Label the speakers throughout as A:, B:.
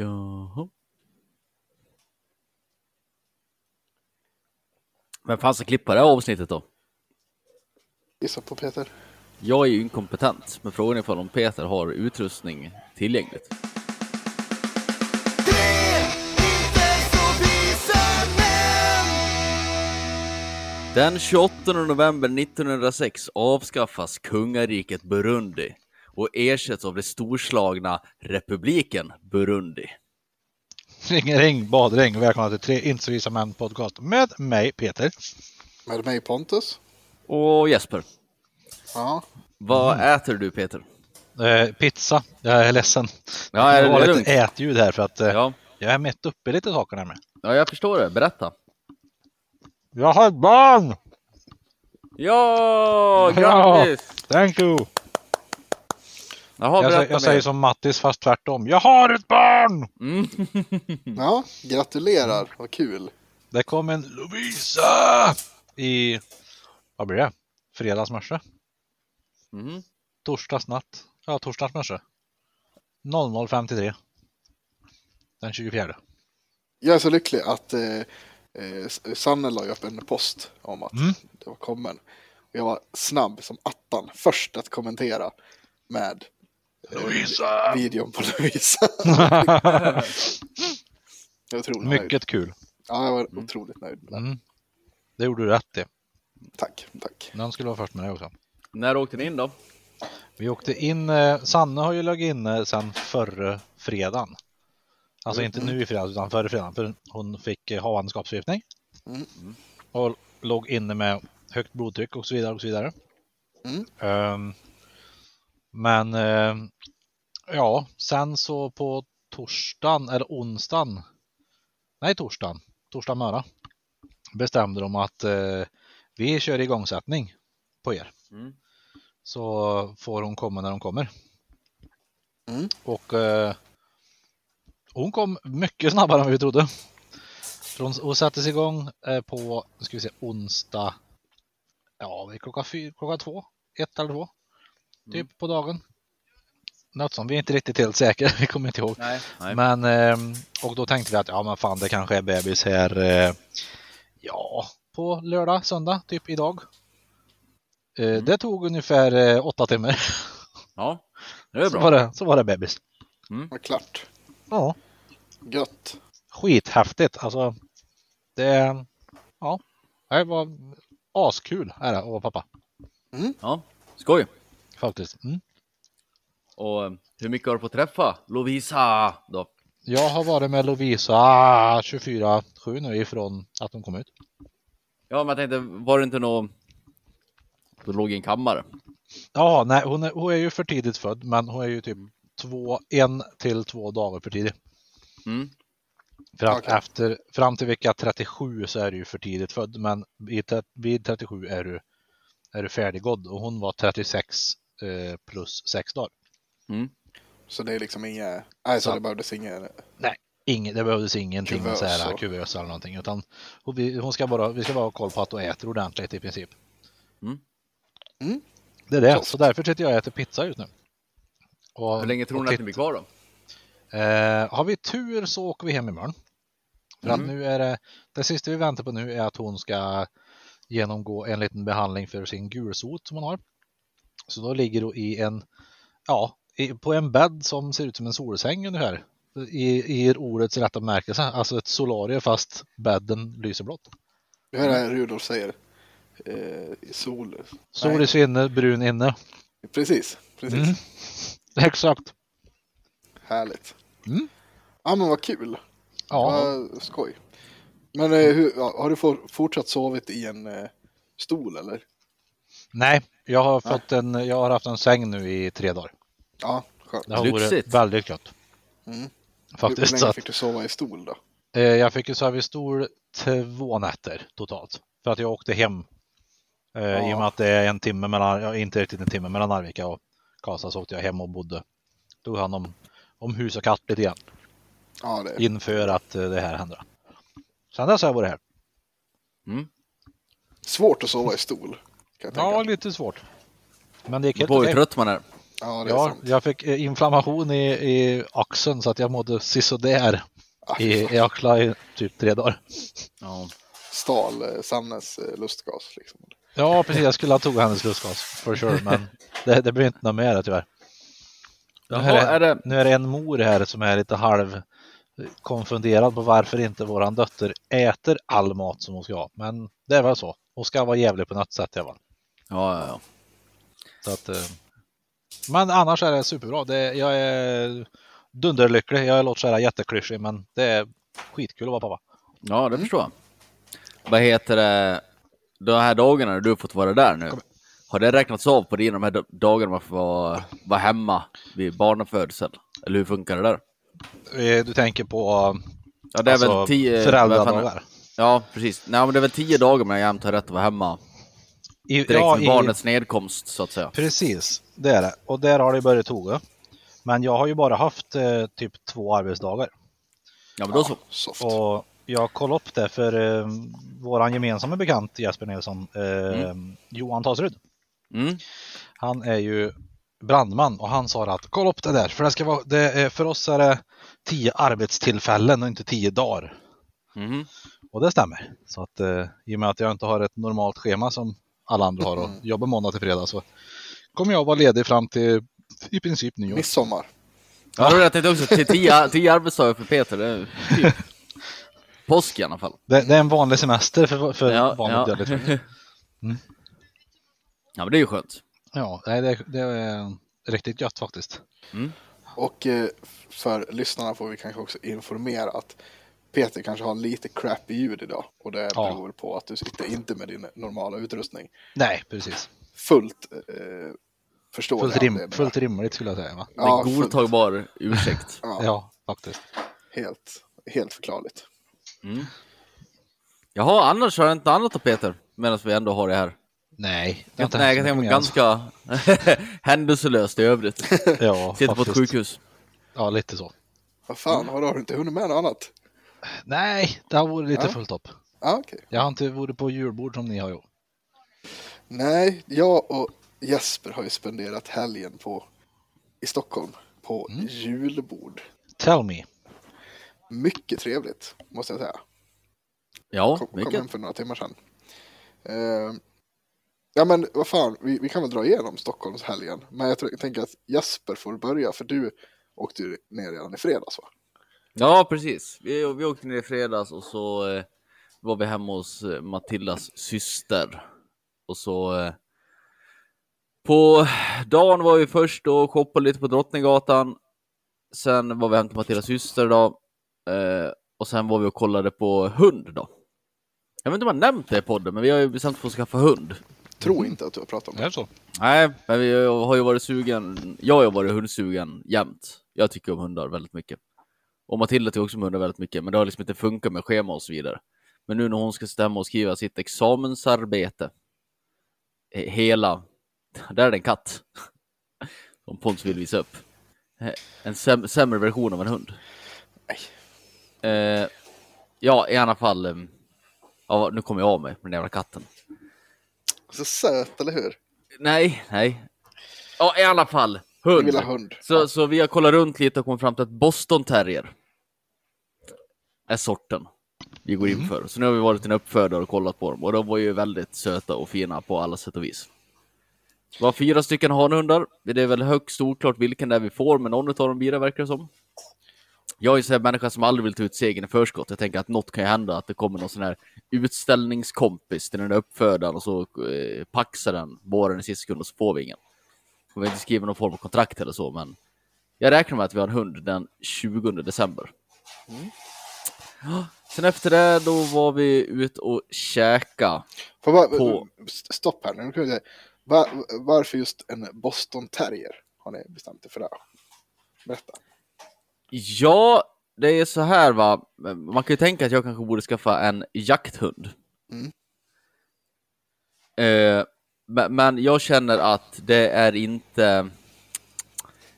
A: Jaha. Vem fan ska klippa det här avsnittet då?
B: Gissa på Peter.
A: Jag är ju inkompetent, men frågan är ifall om Peter har utrustning tillgängligt. Den 28 november 1906 avskaffas kungariket Burundi och ersätts av det storslagna republiken Burundi.
C: Ring, ring, badring. Välkomna till tre inte så visa män podcast med mig Peter.
B: Med mig Pontus.
A: Och Jesper,
B: Ja.
A: vad äter du Peter?
C: Eh, pizza. Jag är ledsen.
A: Ja, är
C: det
A: det
C: var
A: lugnt?
C: lite ätljud här för att eh,
A: Ja,
C: jag är mätt upp i lite saker nämligen.
A: ja jag förstår det. Berätta.
C: Jag har ett barn!
A: Ja,
C: Ja.
A: grattis!
C: Thank you!
A: Jaha,
C: jag
A: berätta
C: sä- jag säger som Mattis fast tvärtom. Jag har ett barn!
A: Mm.
B: Ja,
C: Mm.
B: gratulerar. Vad kul.
C: Det kom en Lovisa i, vad blir det? Fredags morse?
A: Mm.
C: Torsdags natt? Ja, torsdags morse. 00.53. Den 24.
B: Jag är så lycklig att eh, eh, Sanne la ju upp en post om att
C: Mm.
B: det var kommen. Och jag var snabb som attan först att kommentera med
C: Lovisa!
B: videon på Lovisa. jag var otroligt nöjd.
C: Mycket kul.
B: Ja, jag var otroligt nöjd med den.
C: Mm. Det gjorde du rätt i.
B: Tack, tack.
C: Den skulle vara först med det också.
A: När åkte ni in då?
C: Vi åkte in, eh, Sanne har ju lagt in eh, sen förra fredagen. Alltså inte nu i fredags utan förra fredagen. För hon fick eh, havandeskapsförgiftning.
B: Mm.
C: Och låg inne med högt blodtryck och så vidare och så vidare.
B: Mm.
C: Ehm, men eh, ja, sen så på torsdagen eller onsdagen. Nej, torsdagen. Torsdag morgon. Bestämde de att eh, vi kör igångsättning på er.
A: Mm.
C: Så får hon komma när hon kommer.
B: Mm.
C: Och eh, hon kom mycket snabbare än vi trodde. För hon, hon sattes igång eh, på, nu ska vi se, onsdag. Ja, vid klockan, fy, klockan två, ett eller två. Typ på dagen. Något som vi är inte riktigt helt säkra, vi kommer inte ihåg.
A: Nej. Nej.
C: Men, ehm, och då tänkte vi att ja men fan det kanske är bebis här, eh, ja, på lördag, söndag, typ idag. Eh,
A: Mm.
C: Det tog ungefär eh, åtta timmar.
A: Ja, det är
C: Så var
A: bra.
C: det, så var det bebis.
B: Det var klart.
C: Ja,
B: Gött.
C: skithäftigt. Alltså, det, ja, det var askul är det att vara pappa
A: Ja, skoj.
C: faktiskt. Mm.
A: Och eh, hur mycket har du fått träffa Lovisa då?
C: Jag har varit med Lovisa 24-7 nu ifrån att hon kom ut.
A: Ja, men jag tänkte, var det inte någon... Du låg i en kammare.
C: Ja, nej, hon är, hon är ju för tidigt född, men hon är ju typ två, en till två dagar för tidig.
A: Mm.
C: För att
B: Okej.
C: efter, fram till vecka 37 så är du ju för tidigt född, men vid, tre- vid 37 är du, är du färdiggådd och hon var 36 eh, plus 6 dagar.
B: Så det är liksom inga... Nej, så
C: Ja.
B: det behövdes inga...
C: Ingen, det behövdes ingenting
B: Kuvös
C: så här,
B: och-
C: kuvös eller någonting, utan hon, vi, hon ska bara, vi ska bara ha koll på att hon äter ordentligt i princip.
A: Mm.
B: Mm.
C: Det är det,
B: Tufft.
C: så därför sitter jag och äter pizza just nu. Och,
A: Hur länge tror
C: och
A: ni att
C: titt-
A: ni blir kvar då?
C: Eh, har vi tur så åker vi hem imorgon. För att nu är det, det sista vi väntar på nu är att hon ska genomgå en liten behandling för sin gulsot som hon har. Så då ligger hon i en, ja, i, på en bädd som ser ut som en solsäng ungefär. I, I ordets rätta bemärkelse, alltså ett solarium fast bädden lyser blått.
B: Du hör det här Rudolf säger. Eh, sol.
C: Sol
B: Nej.
C: i svinne, brun inne.
B: Precis, precis.
C: Mm. Exakt.
B: Härligt.
C: Mm.
B: Ja, men vad kul.
C: Ja,
B: Vad skoj. Men eh, hur, ja, har du for, fortsatt sovit i en eh, stol eller?
C: nej, jag har, fått en, jag har haft en säng nu i tre dagar.
B: Ja, skönt.
C: Det har varit
A: Lyxigt.
C: väldigt gött.
B: Mm. hur, hur
C: Faktiskt. så
B: länge
C: att-
B: fick du sova i stol då?
C: Eh, Jag fick ju servicestol två nätter totalt. För att jag åkte hem. Eh, I och med att det är en timme mellan, ja, inte riktigt en timme mellan Arvika och Karlstad så åkte jag hem och bodde. Tog hand om, om hus och katt lite grann.
B: Ja, det.
C: Inför att eh, det här hände. Sen dess har jag varit här.
B: Svårt att sova i stol. Kan jag tänka.
C: Ja, lite svårt. Men det gick helt
A: På hur
C: okej.
A: trött man är.
B: Ja, det är
C: Ja,
B: sant.
C: jag fick eh, inflammation i, i axeln så att jag mådde sisådär
B: Ah,
C: i,
B: fy fan.
C: i axlar i typ tre dagar.
A: Ja.
B: Stal eh, Sannes eh, lustgas liksom.
C: Ja, precis. Jag skulle ha tog hennes lustgas, for sure, men det, det blir inte något mer tyvärr.
A: Jaha,
C: här
A: är det...
C: Nu är det en mor här som är lite halv eh, konfunderad på varför inte våran dotter äter all mat som hon ska ha. Men det är väl så. Hon ska vara jävlig på något sätt i alla fall.
A: Ja, ja, ja.
C: Så att, eh, men annars är det superbra. Det, jag är dunderlycklig. Jag låter så här jätteklyschig, men det är skitkul att vara pappa.
A: Ja, det förstår jag. Vad heter det? De här dagarna när du fått vara där nu. Har det räknats av på dina de här dagarna man får vara, vara hemma vid barnafödsel? Eller hur funkar det där?
C: Eh, Du tänker på
A: Ja, det är
C: alltså,
A: väl tio... vad fan-
C: föräldradagar?
A: Ja, precis. Nej, men det är väl tio dagar man jämt har rätt att vara hemma.
C: I-
A: Direkt
C: ja,
A: vid
C: i-
A: barnets nedkomst, så att säga.
C: Precis, det är det. Och där har det börjat toga. Men jag har ju bara haft eh, typ två arbetsdagar.
A: Ja, men då så.
B: Soft.
C: Och jag kollade upp det för eh, våran gemensamma bekant Jesper Nilsson, eh, Johan Tasrud.
A: Mm.
C: Han är ju brandman och han sa att kolla upp det där för, det ska vara, det är, för oss är det tio arbetstillfällen och inte tio dagar.
A: Mhm.
C: Och det stämmer. Så att eh, i och med att jag inte har ett normalt schema som alla andra har och jobbar måndag till fredag så kommer jag vara ledig fram till i princip nyår.
B: Midsommar.
A: Ja, det tänkte jag också. Till tio, tio arbetsdagar för Peter. Det är typ. Påsk i alla fall.
C: Det, det är en vanlig semester för, för
A: Ja,
C: vanligt
A: ja.
C: dödligt folk.
A: Ja, men det är ju skönt.
C: Ja, nej, det, det är eh, riktigt gött faktiskt.
B: Och eh, för lyssnarna får vi kanske också informera att Peter kanske har lite crappy ljud idag och det
C: Ja.
B: beror på att du sitter inte med din normala utrustning.
C: Nej, precis.
B: Fullt eh, förstår
C: Fullt,
B: jag
C: rim,
B: det menar.
C: fullt rimligt skulle jag säga. Va?
A: Det är
B: Ja,
A: en
B: fullt.
A: godtagbar ursäkt.
B: Ja,
C: Ja, faktiskt.
B: Helt, helt förklarligt.
A: Jaha, annars har jag inte annat att Peter, medan vi ändå har det här.
C: Nej, det är
A: Jag
C: inte
A: Nej,
C: hänt
A: jag
C: så
A: tänker mig
C: mycket mer
A: ganska händelselöst i övrigt.
C: än- Ja,
A: Sitter på ett
C: faktiskt.
A: sjukhus.
C: Ja, lite så.
B: Vad fan, vadå, har du inte hunnit med något annat?
C: Nej, det har varit lite
B: Ja.
C: fullt upp.
B: Ja, okej.
C: Jag har inte varit på julbord som ni har gjort.
B: Nej, jag och Jesper har ju spenderat helgen på, i Stockholm på
C: Mm.
B: julbord.
C: Tell me.
B: Mycket trevligt, måste jag säga.
A: Ja,
B: kom, kom
A: mycket.
B: hem för några timmar sedan. Eh, ja men vad fan, vi, vi kan väl dra igenom Stockholmshelgen. Men jag, tror, jag tänker att Jesper får börja för du åkte ju ner redan i fredags va?
A: Ja, precis. Vi, vi åkte ner i fredags och så eh, var vi hemma hos eh, Matildas syster. Och så eh, på dagen var vi först och shoppade lite på Drottninggatan. Sen var vi hem till Matildas syster då. Eh, och sen var vi och kollade på hund då. Jag vet inte om jag har nämnt det i podden, men vi har ju bestämt oss för att skaffa hund.
B: Tror
C: Mhm.
B: inte att du har pratat om
C: Är
B: det.
C: det så?
A: Nej, men vi har ju varit sugen. Jag har ju varit hundsugen jämt. Jag tycker om hundar väldigt mycket. Och Matilda tycker också om hundar väldigt mycket, men det har liksom inte funkat med schema och så vidare. Men nu när hon ska sitta hemma och skriva sitt examensarbete. eh, Hela. Där är det en katt. Som Pontus vill visa upp. Eh, En säm sämre version av en hund.
B: Nej.
A: Eh, ja, i alla fall. eh, Ja, nu kommer jag av mig med den jävla katten.
B: Så söt, eller hur?
A: Nej, nej. Ja, i alla fall. Hund.
B: Du vill ha hund.
A: Så, så vi har kollat runt lite och kommit fram till att Boston Terrier är sorten vi går in för. Så nu har vi varit i en uppfödare och kollat på dem och de var ju väldigt söta och fina på alla sätt och vis. Det var fyra stycken hanhundar. Det är väl högst oklart vilken det är vi får, men någon av dem blir det verkar det som. Jag är ju sån här människa som aldrig vill ta ut segern i förskott. Jag tänker att något kan ju hända, att det kommer någon sån här utställningskompis till den där uppfödaren och så eh, paxar den våren i sista sekund och så får vi ingen. Och vi har inte skrivit någon form av kontrakt eller så, men jag räknar med att vi har en hund den 20 december. Ja, Sen efter det, då var vi ut och käka.
B: Får bara,
A: På-
B: st- Stopp här nu. nu. kan jag säga, va- varför just en Boston Terrier? Har ni bestämt er för det? Berätta.
A: Ja, det är så här va. Man kan ju tänka att jag kanske borde skaffa en jakthund.
B: Mm.
A: Eh, men, men jag känner att det är inte...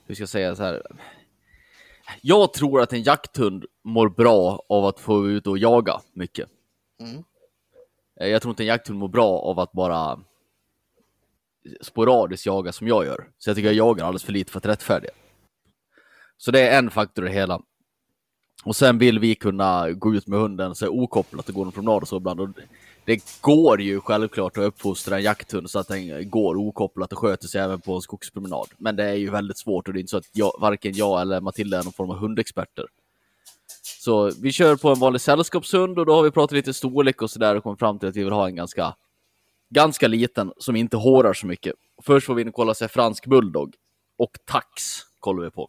A: Hur ska jag säga så här? Jag tror att en jakthund mår bra av att få ut och jaga mycket.
B: Mm.
A: Eh, Jag tror inte en jakthund mår bra av att bara sporadiskt jagar som jag gör. Så jag tycker jag jagar alldeles för lite för att rättfärdiga. Så det är en faktor i det hela. Och sen vill vi kunna gå ut med hunden så här okopplat och gå en promenad och så ibland. Och det går ju självklart att uppfostra en jakthund så att den går okopplat och sköter sig även på en skogspromenad. Men det är ju väldigt svårt och det är inte så att jag, varken jag eller Matilda är någon form av hundexperter. Så vi kör på en vanlig sällskapshund och då har vi pratat lite storlek och sådär och kommit fram till att vi vill ha en ganska, ganska liten som inte hårar så mycket. Först får vi in och kolla sig fransk bulldog och tax kollar vi på.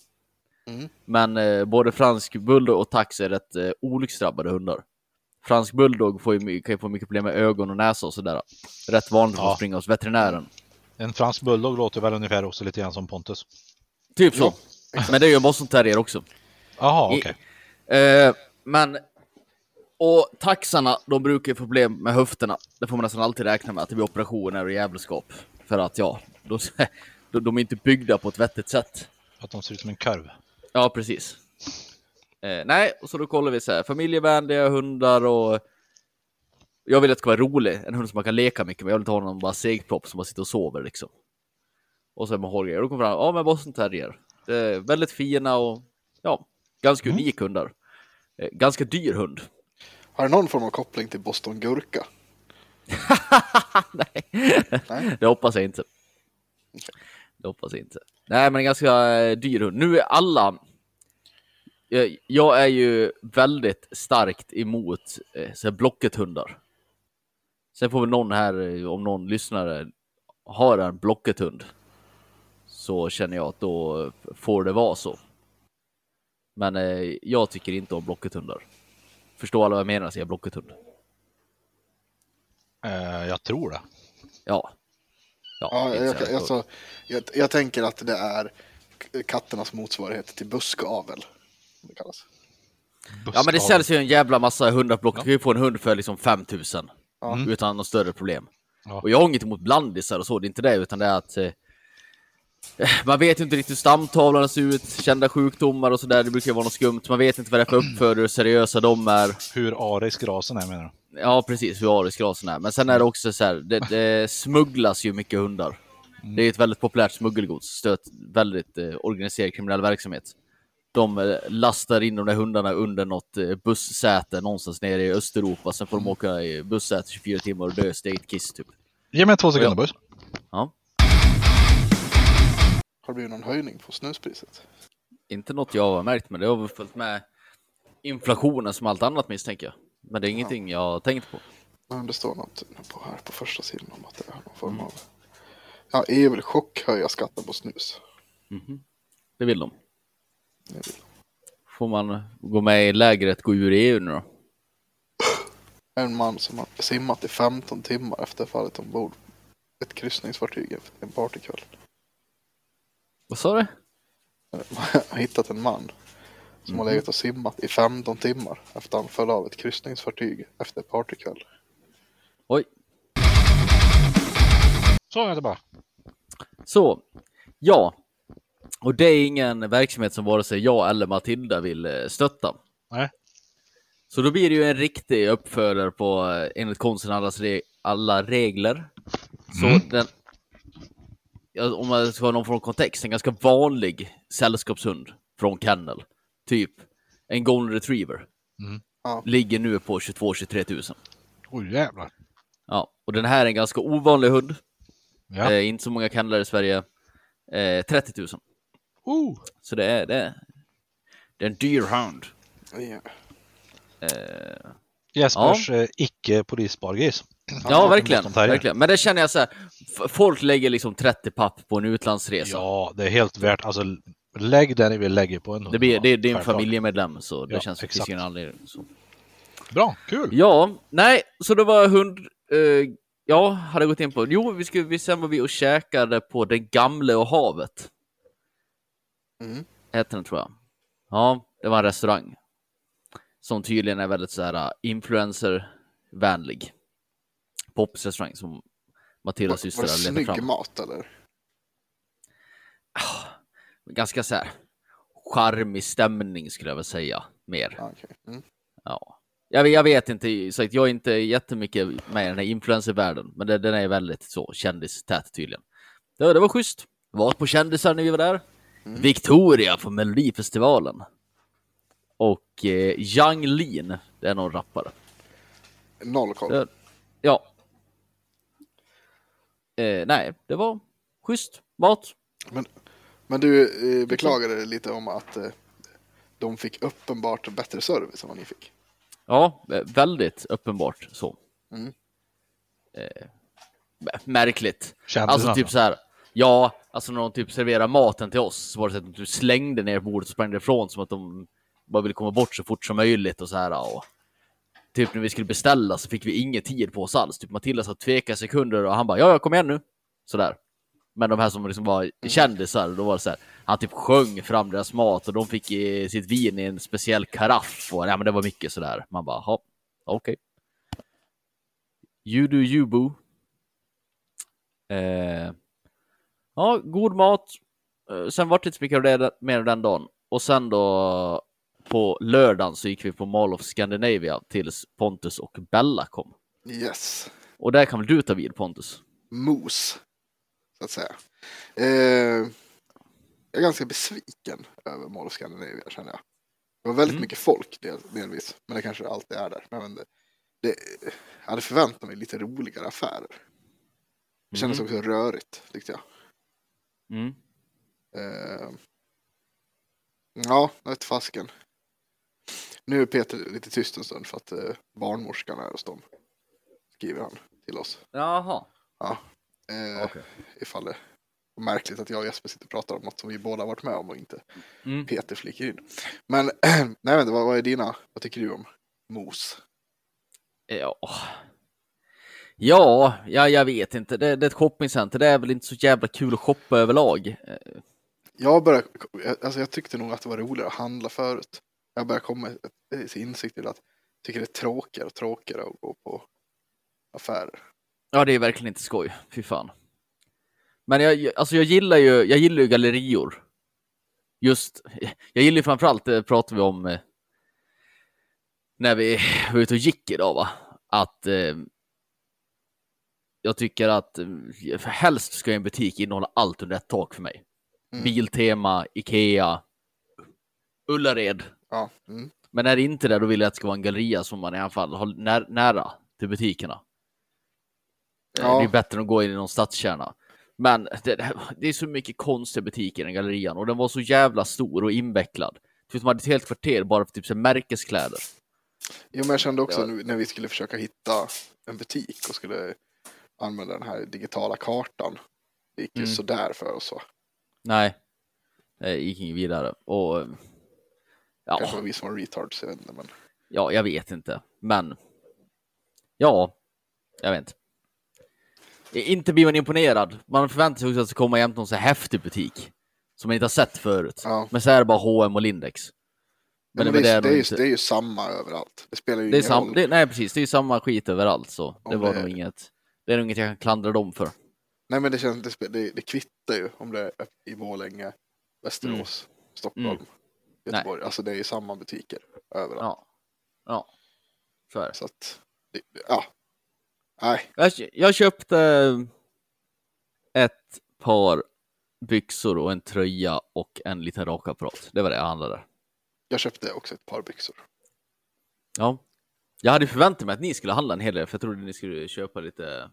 B: Mm.
A: Men eh, både fransk bulldog och tax är rätt eh, olycksdrabbade hundar. Fransk bulldog får ju, my- kan ju få mycket problem med ögon och näsa och sådär. Rätt vanligt att
C: Ja.
A: ja. springa hos veterinären.
C: En fransk bulldog låter väl ungefär också lite grann som Pontus.
A: Typ så.
B: Ja,
A: Men det är ju en boston terrier också.
C: Jaha, okej.
A: I- Eh, men... Och taxarna, de brukar ju få problem med höfterna. Det får man nästan alltid räkna med, att det blir operationer och jävelskap. För att ja, de, de, de är inte byggda på ett vettigt sätt.
C: Att de ser ut som en korv.
A: Ja, precis. Eh, nej, och så då kollar vi så här, familjevänliga hundar och... Jag vill att det ska vara rolig, en hund som man kan leka mycket med. Jag vill inte ha någon bara segpropp som bara sitter och sover liksom. Och sen med Holger, och då kommer fram, ja men Boston Terrier. Eh, väldigt fina och ja, ganska
C: Mm.
A: unik hundar. Eh, ganska dyr hund.
B: Har det någon form av koppling till Boston Gurka?
A: nej.
B: Nej.
A: det hoppas jag inte. Det hoppas jag inte. Nej, men en ganska eh, dyr hund. Nu är alla... Eh, Jag är ju väldigt starkt emot eh, så här Blocket-hundar. Sen får väl någon här, eh, om någon lyssnare har en Blocket-hund, så känner jag att då får det vara så. Men eh, jag tycker inte om Blocket-hundar. Förstår alla vad jag menar när jag säger Blocket-hund?
C: Eh, jag tror det.
A: Ja. Ja,
B: Ja,
A: inte
B: jag,
A: så här-
B: jag, alltså, jag, jag tänker att det är k- katternas motsvarighet till buskavel. som Det kallas.
A: Ja men det
C: Buskav.
A: säljs ju en jävla massa hundrablock.
C: Ja.
A: Du kan ju få en hund för liksom 5000
B: Ja.
A: utan något större problem.
C: Ja.
A: Och jag har inget emot blandisar och så, det är inte det utan det är att eh, man vet ju inte riktigt hur stamtavlan ser ut, kända sjukdomar och sådär, det brukar ju vara något skumt. Man vet inte vad det är för uppfödare, hur seriösa de är.
C: Hur arisk rasen är menar du?
A: Ja precis, hur arisgrasen är. Men sen är det också så här, det, det smugglas ju mycket hundar. Det är ju ett väldigt populärt smuggelgods, stöt väldigt eh, organiserad kriminell verksamhet. De eh, lastar in de där hundarna under något eh, bussäte någonstans nere i Östeuropa, sen får de åka i bussäte 24 timmar och dö i state kiss typ.
C: Ge mig två sekunder Bus.
A: Ja,
B: Har det blivit någon höjning på snuspriset?
A: inte något jag har märkt, men det har väl följt med inflationen som allt annat misstänker jag. Men det är ingenting jag har tänkt på.
B: Men det står något på, här på första sidan om att det är någon form av... Ja, EU vill chockhöja skatten på snus.
A: Det vill de. Får man gå med i lägret, gå ur EU nu då?
B: En man som har simmat i 15 timmar efter fallet ombord på ett kryssningsfartyg efter en partykväll.
A: Vad sa du?
B: Man har hittat en man som har legat och simmat i 15 timmar efter han föll av ett kryssningsfartyg efter partykväll.
A: Oj.
C: Så är det bara.
A: Så, ja. Och det är ingen verksamhet som vare sig jag eller Matilda vill eh, stötta.
C: Nej.
A: Så då blir det ju en riktig uppfödare på, eh, enligt konsten, allas re- alla regler. Så
C: Mm.
A: den, ja, om man ska ha någon form av kontext, en ganska vanlig sällskapshund från kennel, typ en golden retriever,
C: Mm.
B: Ja.
A: ligger nu på 22-23 000.
C: Oj jävlar.
A: Ja, och den här är en ganska ovanlig hund,
C: Ja.
A: eh, inte så många kennlar i Sverige, eh, 30 000.
C: Oh.
A: Så det är det. är- Det är en dyr hound.
B: Ja,
C: Jespers eh, icke polisbar gris.
A: Ja, verkligen,
C: Boston Terrier.
A: verkligen. Men det känner jag så här. f- Folk lägger liksom 30 papp på en utlandsresa.
C: Ja, det är helt värt. Alltså, lägg det ni vill lägga på en hund.
A: det, blir, det, det är en
C: Självklart.
A: familjemedlem så det
C: Ja,
A: känns
C: exakt.
A: faktiskt ingen anledning. Så.
C: Bra, kul.
A: Ja, nej, så det var hund. Eh, ja, hade jag gått in på. Jo, vi skulle, vi, sen var vi och käkade på Den Gamle och havet.
B: Mm.
A: Hette den tror jag. Ja, det var en restaurang. Som tydligen är väldigt så här eh, influencer-vänlig. Popisrestaurang som Matildas
B: Var,
A: syster
B: var det
A: hade letat
B: snygg
A: fram.
B: mat eller?
A: Ganska så här charmig stämning skulle jag väl säga mer.
B: Ja, okej. mm.
A: Ja. Jag, vet- jag vet inte, så att jag är inte jättemycket med i den här influencervärlden, men det, den är väldigt så kändistät tydligen. Det, det var schysst. Var på kändisar när vi var där.
B: Mm.
A: Victoria på Melodifestivalen. Och eh, Yang Lin, det är någon rappare.
B: Noll koll.
A: Det, ja. Eh, nej, det var schysst. Mat.
B: Men du eh, beklagade dig lite om att eh, de fick uppenbart bättre service än vad ni fick.
A: Ja, eh, väldigt uppenbart så.
B: Mm.
A: Eh, m- märkligt.
C: Kändisarna.
A: Alltså typ så här. Ja, alltså när de typ serverar maten till oss så var det så att du slängde ner på bordet och sprang därifrån som att de bara ville komma bort så fort som möjligt och så här. Och typ när vi skulle beställa så fick vi ingen tid på oss alls. Typ Matilda satt tveka sekunder och han bara ja, jag kom igen nu. Så där. Men de här som liksom var kändisar, då var det så här. Han typ sjöng fram deras mat och de fick eh, sitt vin i en speciell karaff och ja, men det var mycket så där. Man bara, ja, okej. You do you boo. Eh, ja, god mat. Eh, sen vart det inte så mycket av det mer den dagen. Och sen då på lördagen så gick vi på Mall of Scandinavia tills Pontus och Bella kom.
B: Yes.
A: Och där kan väl du ta vid Pontus?
B: Mos. Så att säga. Eh, jag är ganska besviken över Mall of Scandinavia känner jag. Det var väldigt
A: Mm.
B: mycket folk del, delvis. Men det kanske alltid är där. Men det, det, jag hade förväntat mig lite roligare affärer. Det kändes också rörigt tyckte jag.
A: Mm.
B: Eh, ja, jag vet fasken. Nu är Peter lite tyst en stund för att eh, barnmorskan är hos dem. Skriver han till oss.
A: Jaha,
B: Eh,
A: okej.
B: Ifall det märkligt att jag och Jesper sitter och pratar om något som vi båda varit med om och inte
A: Mm.
B: Peter flikar in. Men, nej men vad, vad är dina, vad tycker du om mos?
A: Ja. Ja, ja, jag vet inte. Det, det är ett shoppingcenter. Det är väl inte så jävla kul att shoppa överlag. Eh,
B: Jag börjar, alltså jag tyckte nog att det var roligare att handla förut. Jag börjar komma eh, till insikt till att jag tycker det är tråkigare och tråkigare att gå på affärer.
A: Ja, det är verkligen inte skoj. Fy fan. Men jag, alltså jag gillar ju, jag gillar ju gallerior. Just, jag gillar ju framförallt, det pratade vi om eh, när vi var ute och gick idag, va? Att eh, jag tycker att eh, helst ska en butik innehålla allt under ett tak för mig.
B: Mm.
A: Biltema, Ikea, Ullared.
B: Ja. Mm.
A: Men är det inte det, då vill jag att det ska vara en galleria som man i alla fall har när, nära till butikerna. Eh,
B: Ja.
A: Det är bättre än att gå in i någon stadskärna. Men det, det är så mycket konstiga butiker i den gallerian och den var så jävla stor och invecklad. Typ de hade ett helt kvarter bara för typ så här märkeskläder.
B: Jo men jag kände också
A: Ja.
B: nu när vi skulle försöka hitta en butik och skulle använda den här digitala kartan. Det gick ju
A: Mm.
B: sådär för oss va?
A: Nej, det gick inget vidare. Och, eh, ja,
B: Kanske var vi som var retards, jag vet inte. Men...
A: ja, jag vet inte. Men ja, jag vet inte. I- Inte blir man imponerad. Man förväntar sig också att det ska komma jämt någon så här häftig butik som man inte har sett förut.
B: Ja.
A: Men så är det bara H&M och Lindex.
B: Men,
A: men
B: det, är,
A: nog
B: det, är,
A: inte.
B: ju- det är ju samma överallt. Det spelar ju
A: Det är
B: ingen
A: sam-
B: roll.
A: det, nej, precis. Det är ju samma skit överallt så. Det
B: Om
A: var
B: det-
A: nog inget. Det är nog inget jag kan klandra dem för.
B: Nej men det, känns, det, spe- det, det kvittar ju om det är upp i Borlänge, Västerås, Stockholm,
A: Mm.
B: Göteborg. Alltså det är ju samma butiker överallt.
A: Ja. Ja. Så är det.
B: Så att, det, det- ja. Nej,
A: Jag, kö- jag köpte eh, ett par byxor och en tröja och en liten rakapparat. Det var det jag handlade.
B: jag köpte också ett par byxor.
A: Ja. Jag hade förväntat mig att ni skulle handla en hel del, för jag trodde ni skulle köpa lite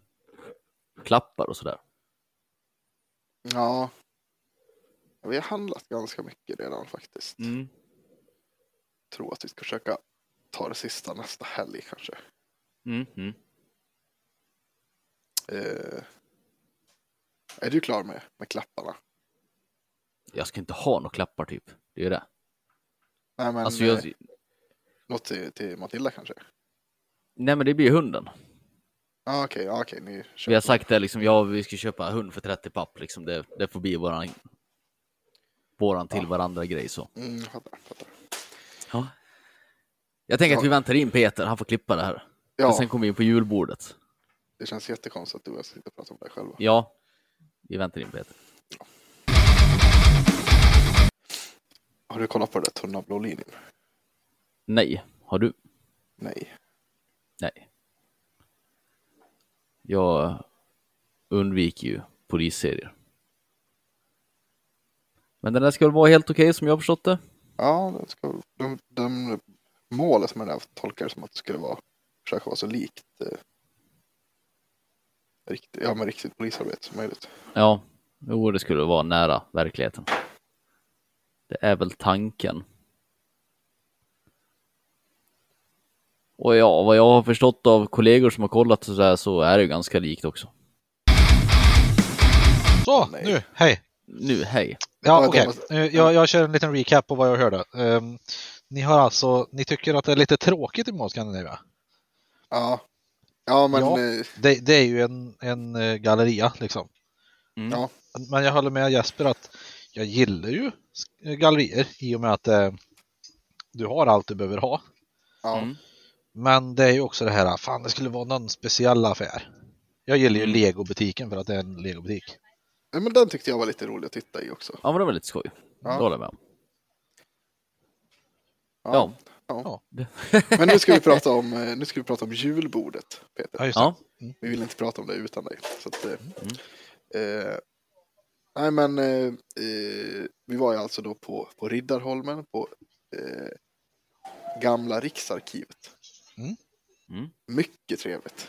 A: klappar och sådär.
B: Ja. Ja, Vi har handlat ganska mycket redan faktiskt.
A: Mm.
B: Tror att vi ska försöka ta det sista nästa helg kanske.
A: Mm. Mm.
B: Eh, är du klar med, med klapparna?
A: Jag ska inte ha några klappar typ. Det är ju det.
B: Nej men
A: alltså, jag...
B: eh, något till, till Matilda kanske?
A: Nej, men det blir ju hunden.
B: Ja okej, ja okej, ni
A: Vi
B: köper.
A: har sagt det liksom, ja, vi ska köpa hund för 30 papp liksom. Det, det får bli våran, våran till varandra grej så.
B: Mm, jag fattar, jag fattar.
A: Ja. Jag tänker att vi
B: Ja.
A: väntar in Peter, han får klippa det här.
B: Ja,
A: Och sen kommer vi in på julbordet.
B: det känns jättekonstigt att du och jag ska sitta och prata om det själva.
A: Ja, vi väntar in Peter.
B: Har du kollat på den där tunna blå linjen?
A: Nej, har du?
B: Nej.
A: Nej. Jag undviker ju polisserier. Men den där ska väl vara helt okej som jag har förstått det.
B: Ja, det ska, de, de målet med den här tolkar det som att det skulle vara, försöka vara så likt eh, riktigt, ja, men riktigt polisarbete som möjligt.
A: Ja, jo, det skulle vara nära verkligheten. Det är väl tanken. Och ja, vad jag har förstått av kollegor som har kollat så, där, så är det ju ganska likt också.
C: Så,
B: Nej.
C: nu, hej!
A: Nu, hej.
C: Ja,
B: Ja,
C: okej.
B: Thomas.
C: Eh, Jag, jag kör en liten recap på vad jag hörde. Ehm, ni har alltså, ni tycker att det är lite tråkigt i Mall Scandinavia?
B: Ja, ja men
C: Ja.
B: eh,
C: Det, det är ju en, en eh, galleria liksom.
A: Mm.
B: Ja.
C: Men jag håller med Jesper att jag gillar ju sk- gallerier i och med att eh, du har allt du behöver ha.
B: ja,
A: Mm.
C: Men det är ju också det här, fan det skulle vara någon speciell affär. Jag gillar
B: Mm.
C: ju legobutiken för att det är en legobutik.
B: Nej, men den tyckte jag var lite rolig att titta i också.
A: Ja, men det var lite skoj.
B: Ja.
A: Det håller jag med om. Ja.
B: Ja.
A: Ja.
B: Men nu ska vi prata om, eh, nu ska vi prata om julbordet, Peter.
C: Ja, just det.
A: Ja.
B: Vi vill inte prata om det utan dig. Så att, eh, eh, nej men, eh, eh, vi var ju alltså då på, på Riddarholmen på eh, gamla Riksarkivet.
C: Mm.
A: Mm.
B: Mycket trevligt.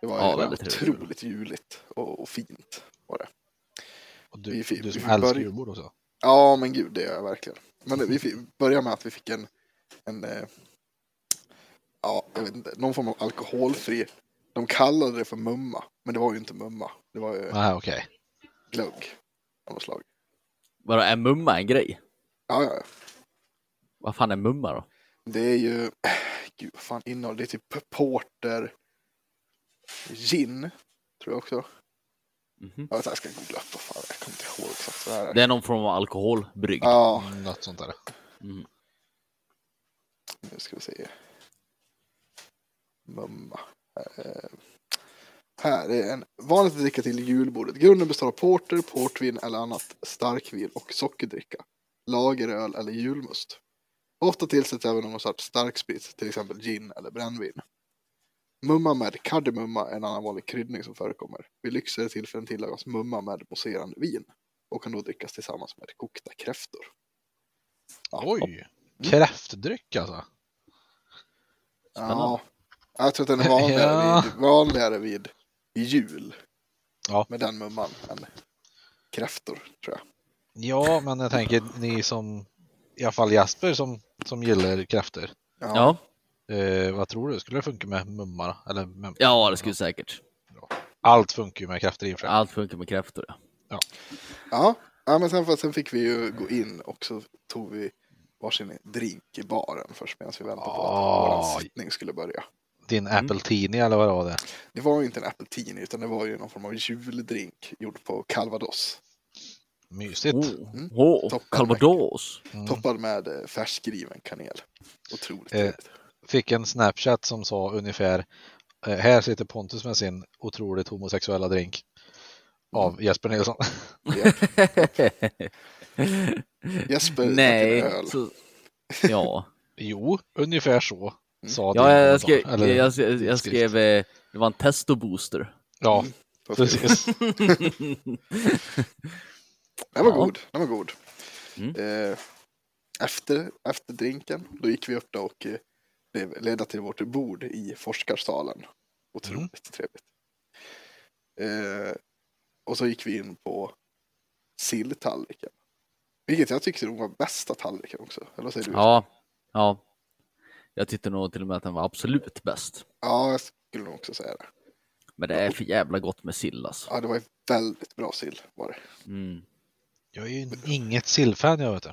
B: Det var
A: Ja,
B: ju
A: väldigt trevligt.
B: otroligt juligt och, och fint. Var det.
C: Och
B: Vi
C: du,
B: fick-
C: du som
B: vi
C: älskar
B: börj-
C: julbord också.
B: Ja men gud, det gör jag verkligen. Men det- vi fick, började med att vi fick en, en eh, ja, jag vet inte, någon form av alkoholfri. De kallade det för mumma, men det var ju inte mumma. Det var ju
C: Nej, okej.
B: glögg av något slag.
A: Vadå, är mumma en grej?
B: Ja, ja, ja.
A: Vad fan är mumma då?
B: Det är ju, eh, gud vad fan innehåller det? är typ porter, gin, tror jag också.
A: Mhm.
B: Ja, Jag ska googla upp, vad fan, jag kommer inte ihåg exakt vad det här är.
A: Det är någon form av alkoholbrygd.
B: Ja,
C: Något sånt där.
B: nu ska vi se. Mumma. Eh, Här är en vanligt att dricka till julbordet. Grunden består av porter, portvin eller annat starkvin och sockerdricka. Lageröl eller julmust. Ofta tillsätts även någon sorts starksprit, till exempel gin eller brännvin. Mumma med kardemumma är en annan vanlig kryddning som förekommer. Vid lyxigare tillfällen tillagas mumma med mousserande vin och kan då drickas tillsammans med kokta kräftor. Ja. Mm.
C: Oj! Kräftdryck alltså.
A: Spännande.
B: Ja, jag tror att den är vanligare,
C: Ja.
B: vid, vanligare vid jul.
C: Ja.
B: Med den mumman än kräftor, tror jag.
C: Ja, men jag tänker ni som, i alla fall Jasper som, som gillar kräftor.
A: Ja.
C: Eh, vad tror du, skulle det funka med mummar? då? Eller mum-
A: ja, det skulle säkert.
C: Allt funkar ju med kräftor i och för sig.
A: Allt funkar med kräftor. Ja.
B: Ja, ja men sen, sen fick vi ju gå in och så tog vi varsin drink i baren först medan vi väntade på att
C: Oj.
B: vår sittning skulle börja.
C: Din
A: Mm.
C: apple-tidning eller vad det var det?
B: Det var ju inte en apeltini utan det var ju någon form av juldrink gjord på calvados.
C: Mysigt.
A: Oh.
B: Mm.
A: Oh.
B: Toppen.
A: Calvados.
C: Mm.
B: Toppad med eh, färskriven kanel. Otroligt
C: Eh,
B: trevligt.
C: Fick en Snapchat som sa ungefär eh, här sitter Pontus med sin otroligt homosexuella drink. Av
A: Mm.
C: Jesper Nilsson.
B: Jesper drack en
A: Nej.
B: öl.
A: Så... Ja.
C: jo, ungefär så. Sa din
A: Mm. Ja, jag, jag,
C: kommentar.
A: skrev,
C: Eller-
A: jag, jag, jag skrev, eh, det var en testobooster.
C: Ja,
A: Mm.
B: Vad trevligt.
C: precis.
B: Den
A: Ja.
B: var god. Den var god.
A: Mm.
B: Eh, efter, efter drinken, då gick vi upp där och eh, blev ledda till vårt bord i forskarsalen. Otroligt
C: Mm.
B: trevligt. Eh, och så gick vi in på silltallriken. Vilket jag tyckte nog var bästa tallriken också. Eller vad säger du?
A: Ja, ja. Jag tyckte nog till och med att den var absolut bäst.
B: ja, jag skulle nog också säga det.
A: Men det är för jävla gott med sill alltså.
B: Ja, det var ju väldigt bra sill var det.
A: Mm.
C: Jag är ju inget sillfan jag vet du.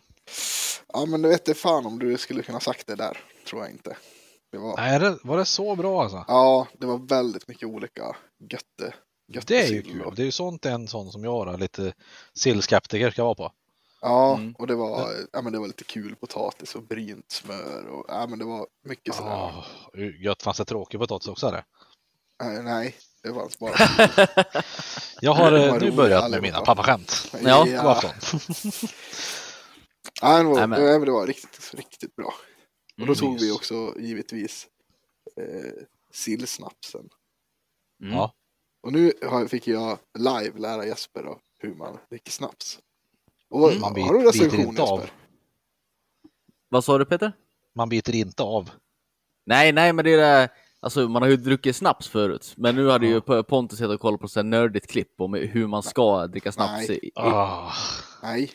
B: Ja, men du vet det fan om du skulle kunna sagt det där. Tror jag inte. Det var...
C: Nej, det, var det så bra alltså?
B: Ja, det var väldigt mycket olika götte.
C: Det är ju
B: göttesill och-
C: kul. Det är ju sånt en sån som jag då, lite sillskeptiker ska vara på.
B: Ja,
A: Mm.
B: och det var, ja, men det var lite kul potatis och brynt smör och ja, men det var mycket sådär.
C: Oh, gött, fanns det tråkig potatis också eller?
B: Nej, Eh, nej, det fanns bara.
C: Jag har
B: Det var
C: eh, nu
B: roligt
C: börjat med
B: allihopa.
C: mina pappaskämt.
A: Ja,
C: God
B: ja.
C: afton.
B: ja det, var,
A: Nej,
B: nej,
A: men-
B: men... Det, var riktigt, riktigt bra. Och då
A: Mm.
B: tog vi också givetvis eh, sillsnapsen.
A: Mm.
C: Ja.
B: Och nu har, fick jag live lära Jesper då, hur man dricker snaps. Och vad-
C: Mm. Man bit-
B: har du
C: biter
B: recension
C: inte av.
B: Jesper?
A: Vad sa du Peter?
C: Man biter inte av.
A: Nej, nej, men det är det. här- Alltså, man har ju druckit snaps förut, men nu hade
C: Ja.
A: ju P- Pontus sett och kollat på ett nördigt klipp om hur man ska dricka snaps.
B: Nej.
A: I, i,
C: Ah.
B: Nej.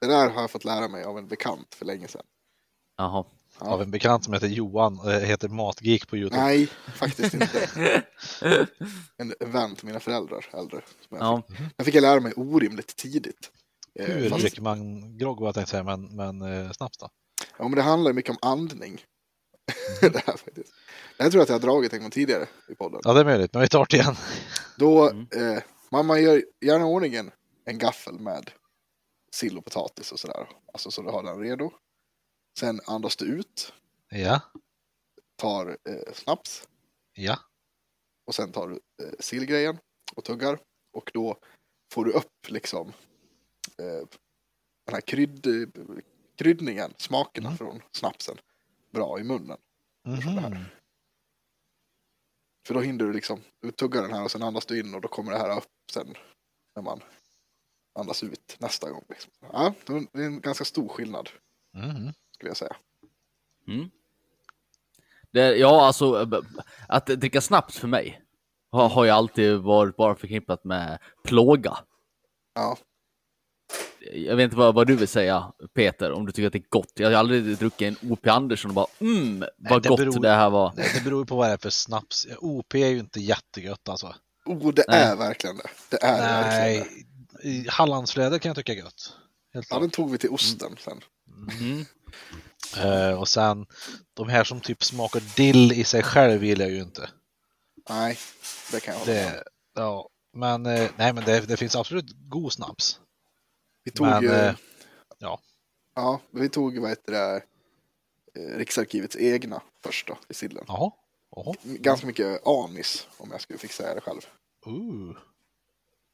B: Det där har jag fått lära mig av en bekant för länge sedan.
A: Jaha.
B: Ja.
C: Av en bekant som heter Johan, eh, heter Matgeek på Youtube.
B: Nej, faktiskt inte. En en vän till mina föräldrar äldre. Som jag,
A: Ja.
B: fick. jag fick lära mig orimligt tidigt. Eh,
C: Hur
B: fast-
C: dricker man grogg var jag tänkte säga, men, men eh, snaps då?
B: Ja, men det handlar mycket om andning. det här faktiskt. Det här tror jag att jag har dragit en gång tidigare i podden.
C: Ja, det är möjligt, men vi tar det igen.
B: Då,
A: Mm.
B: eh, mamma gör gärna i ordning en- en gaffel med sill och potatis och sådär. Alltså så du har den redo. Sen andas du ut,
C: Ja,
B: tar eh, snaps
C: ja.
B: och sen tar du eh, sillgrejen och tuggar. Och då får du upp liksom eh, den här krydd, kryddningen, smakerna
C: Mm.
B: från snapsen bra i munnen.
C: Mhm.
B: För då hinner du liksom, du tuggar den här och sen andas du in och då kommer det här upp sen när man andas ut nästa gång. Liksom. Ja, det är en ganska stor skillnad
C: Mhm.
B: skulle jag säga.
A: Det, ja, alltså b- b- att dricka snaps för mig har, har ju alltid varit bara förknippat med plåga.
B: Ja,
A: Jag vet inte vad, vad du vill säga Peter, om du tycker att det är gott. Jag har aldrig druckit en O.P. Andersson och bara mm, vad
C: det
A: gott
C: beror-
A: det här var.
C: Det det beror ju på vad det är för snaps. OP är ju inte jättegött alltså.
B: oh, det
A: Nej.
B: är verkligen det. Det är verkligen det.
C: Nej, i Hallandsfläder kan jag tycka är gött. Helt
B: Ja,
C: klart.
B: den tog vi till osten sen.
A: Mm.
C: Eh, och sen, de här som typ smakar dill i sig själv vill jag ju inte.
B: Nej, det kan jag hålla med om.
C: Det, ja, men eh, nej, men det, det finns absolut god snaps.
B: Vi tog
C: men,
B: ju,
C: eh, ja.
B: ja, vi tog vad heter det, eh, Riksarkivets egna första i sillen.
C: Jaha. Jaha.
B: Ganska mycket anis om jag skulle fixa det själv.
C: Ooh.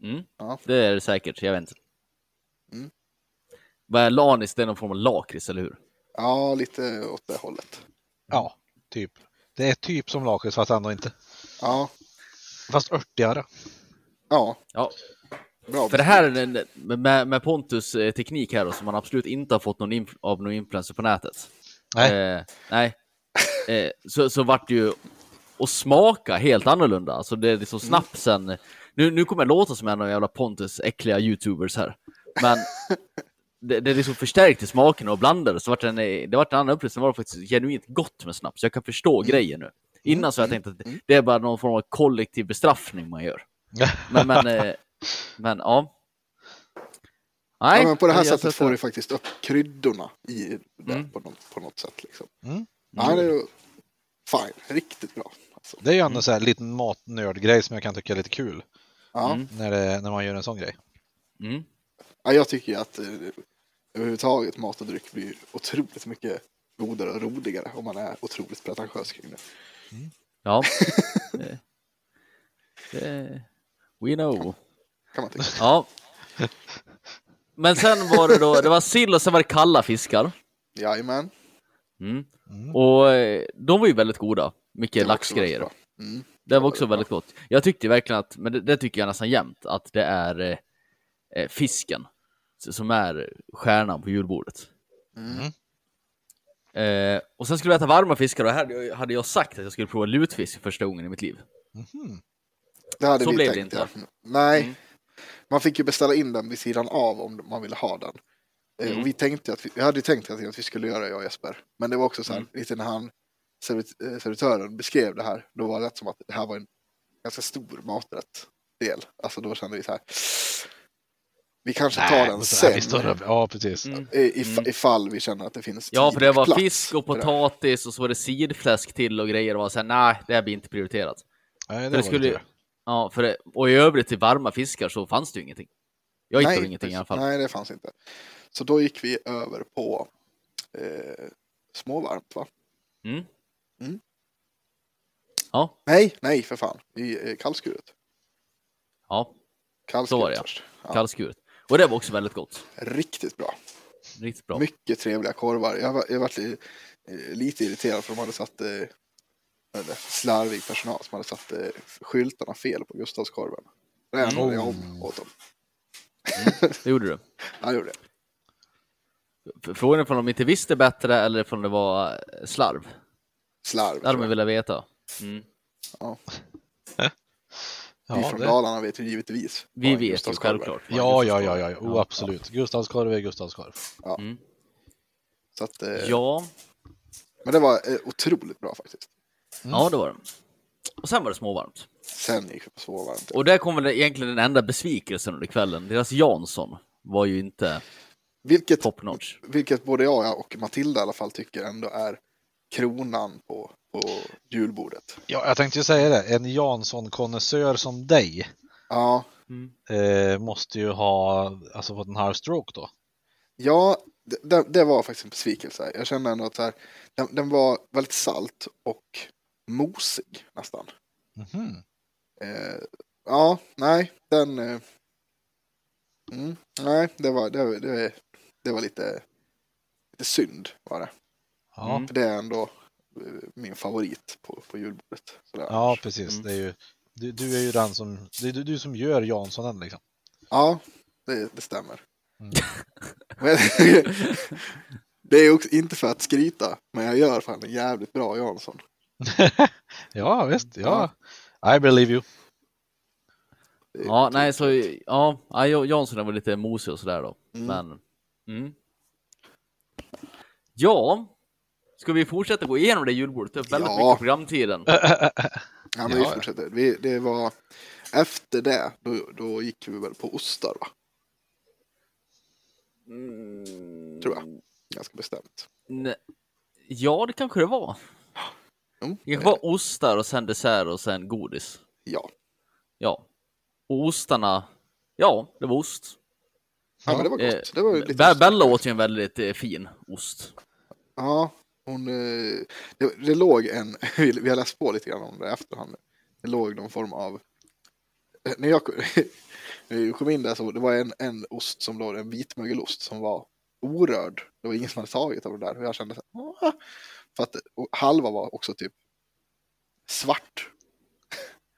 A: Mm.
B: Ja.
A: Det är det säkert, jag vet inte.
B: Mm.
A: Vad är lanis? Det är någon form av lakrits, eller hur?
B: Ja, lite åt det hållet.
C: Ja, typ. Det är typ som lakrits fast ändå inte.
B: Ja,
C: Fast örtigare.
B: ja,
A: Ja,
B: bra.
A: för det här är den- med, med Pontus eh, teknik här då, som man absolut inte har fått någon inf- av någon influencer på nätet.
C: Nej.
A: Eh, nej. Eh, så, så vart det ju att smaka helt annorlunda. Alltså det är liksom snapsen. Nu, nu kommer jag låta som en av jävla Pontus äckliga youtubers här. Men det, det liksom förstärkte smaken och blandade så vart den, eh, det vart en annan upplevelse. Det var faktiskt genuint gott med snaps. Jag kan förstå
B: Mm.
A: grejen nu. Innan så har jag tänkt att det är bara någon form av kollektiv bestraffning man gör. Men, men, eh, men ja. Nej,
B: ja, men på det här
A: jag
B: sättet
A: sätter-
B: får du faktiskt upp kryddorna i det
A: Mm.
B: på, något, på något sätt. Liksom.
C: Mm.
B: Ja, det är ju fine, riktigt bra. Alltså.
C: Det är ju ändå så här liten matnördgrej som jag kan tycka är lite kul.
B: Ja.
A: Mm.
C: När, det, när man gör en sån grej.
A: Mm.
B: Ja, jag tycker ju att eh, överhuvudtaget mat och dryck blir otroligt mycket godare och roligare om man är otroligt pretentiös kring det.
A: Ja. Det- det- We know.
B: Kan man tycka.
A: Ja. Men sen var det då, det var sill och sen var det kalla fiskar.
B: Jajamän.
A: Mm.
C: Mm.
A: Och eh, de var ju väldigt goda.
B: Det
A: Mycket
B: var också
A: laxgrejer.
B: väldigt bra. Mm.
A: Det var också väldigt gott. Jag tyckte verkligen att, men det, det tycker jag nästan jämt, att det är eh, eh, fisken s- som är stjärnan på julbordet.
B: Mm.
A: Eh, och sen skulle vi äta varma fiskar och här hade jag, hade jag sagt att jag skulle prova lutfisk för första gången i mitt liv.
C: Mhm.
B: Det hade
A: Så
B: vi
A: blev det
B: tänkt,
A: inte.
B: Ja. Nej,
A: Mm.
B: man fick ju beställa in den vid sidan av om man ville ha den. Eh,
A: Mm.
B: Och vi tänkte att vi, jag hade ju tänkt att vi- att vi skulle göra det, jag och Jesper. Men det var också så här,
A: Mm.
B: lite när han, servit, eh, servitören beskrev det här, då var det som att det här var en ganska stor maträtt del. Alltså då kände vi så här, vi kanske tar
C: Nej,
B: den
C: men så här,
B: sen.
C: vi står upp. Ja, precis.
A: Mm.
B: eh, if-
A: Mm.
B: Ifall vi känner att det finns
A: Ja,
B: tid
A: för det var
B: plats
A: fisk och
B: för Typ det.
A: potatis och så var det sidfläsk till och grejer och var så här, nej, det här blir inte prioriterat.
C: Nej, det,
A: Det
C: var
A: skulle-
C: lite det.
A: Ja, för det, och i övrigt till varma fiskar så fanns det ju ingenting. Jag hittade ingenting i alla fall.
B: Nej, det fanns inte. Så då gick vi över på eh, småvarmt va?
A: Mm.
B: Mm.
A: Ja,
B: Nej, nej för fan. I eh, kallskuret.
A: ja,
B: Kallskuret
A: Så var det, ja.
B: först. Ja,
A: kallskuret. Och det var också väldigt gott.
B: Riktigt bra.
A: Riktigt bra.
B: Mycket trevliga korvar. Jag var, jag var lite, lite irriterad för de hade satt eh, eller, slarvig personal som hade satt eh, skyltarna fel på Gustavskorven. Det
A: Mm.
B: ändrade jag om åt dem.
A: Det gjorde du.
B: Jag gjorde det.
A: F- Frågan är om de inte visste bättre eller om det var slarv.
B: Slarv.
A: Det hade man
B: tror jag.
A: velat veta. Mm.
B: Vi
C: Ja,
B: från
C: det,
B: Dalarna vet ju givetvis.
A: Vi
B: vad
A: vet ju
B: Gustavskorv är.
A: självklart.
C: ja, ja, ja, ja, ja. Oh, absolut. Gustavskorv är Gustavskorv.
B: Så att, eh,
A: Ja,
B: Men det var eh, otroligt bra faktiskt.
C: Mm.
A: ja det var det. Och sen var det småvarmt.
B: Sen gick det på så varmt.
A: Och där kom väl egentligen den enda besvikelsen under kvällen. Deras Jansson var ju inte
B: Vilket,
A: top notch.
B: vilket både jag och Matilda i alla fall tycker ändå är kronan på, på julbordet.
C: Ja, jag tänkte ju säga det. En Jansson-konnässör som dig
B: Ja,
C: eh, måste ju ha alltså, fått en halv stroke då.
B: ja det- det, det var faktiskt en besvikelse. Jag kände ändå att så här, den, den var väldigt salt och mosig nästan.
C: Mhm.
B: Eh, ja, nej, den... Eh, mm, nej, det var, det, det, det var lite, lite synd var det.
C: Ja,
A: Mm.
B: För det är ändå eh, min favorit på, på julbordet. Sådär.
C: ja precis.
A: Mm.
C: Det är ju, du, du är ju den som, det är du, du som gör Janssonen liksom.
B: Ja, det, det stämmer.
C: Mm.
B: Men, det är också inte för att skryta, men jag gör fan en jävligt bra Jansson.
C: Ja, visst. Ja. I believe you.
B: Det är
A: Ja,
B: otroligt.
A: nej, så ja, ja, Jansson var lite mosig och sådär då.
B: Mm.
A: Men, mm. Ja, ska vi fortsätta gå igenom det julbordet? Det är väldigt
B: Ja.
A: mycket programtiden.
B: Ja, men
C: Ja,
B: vi
C: ja.
B: fortsätter. Vi, det var... Efter det, då, då gick vi väl på ostar, va?
A: Mm.
B: Tror jag. Ganska bestämt.
A: Nej. Ja, det kanske det var.
B: Jo,
A: Det kanske var ostar och sen dessert och sen godis.
B: Ja.
A: Ja. Och ostarna, ja, det var ost.
B: ja, men det var
A: Eh,
B: gott. Det var ju lite
A: Be- Bella åt ju en väldigt eh, fin ost.
B: Ja, hon... eh, Det, det låg en... Vi, vi har läst på lite grann om det i efterhand. Det låg någon form av... eh, När jag, kom- när jag kom in där så det var en, en ost som låg, en vitmögelost som var orörd. Det var ingen som hade tagit av det där. Och jag kände så här, "Åh." För att och halva var också typ svart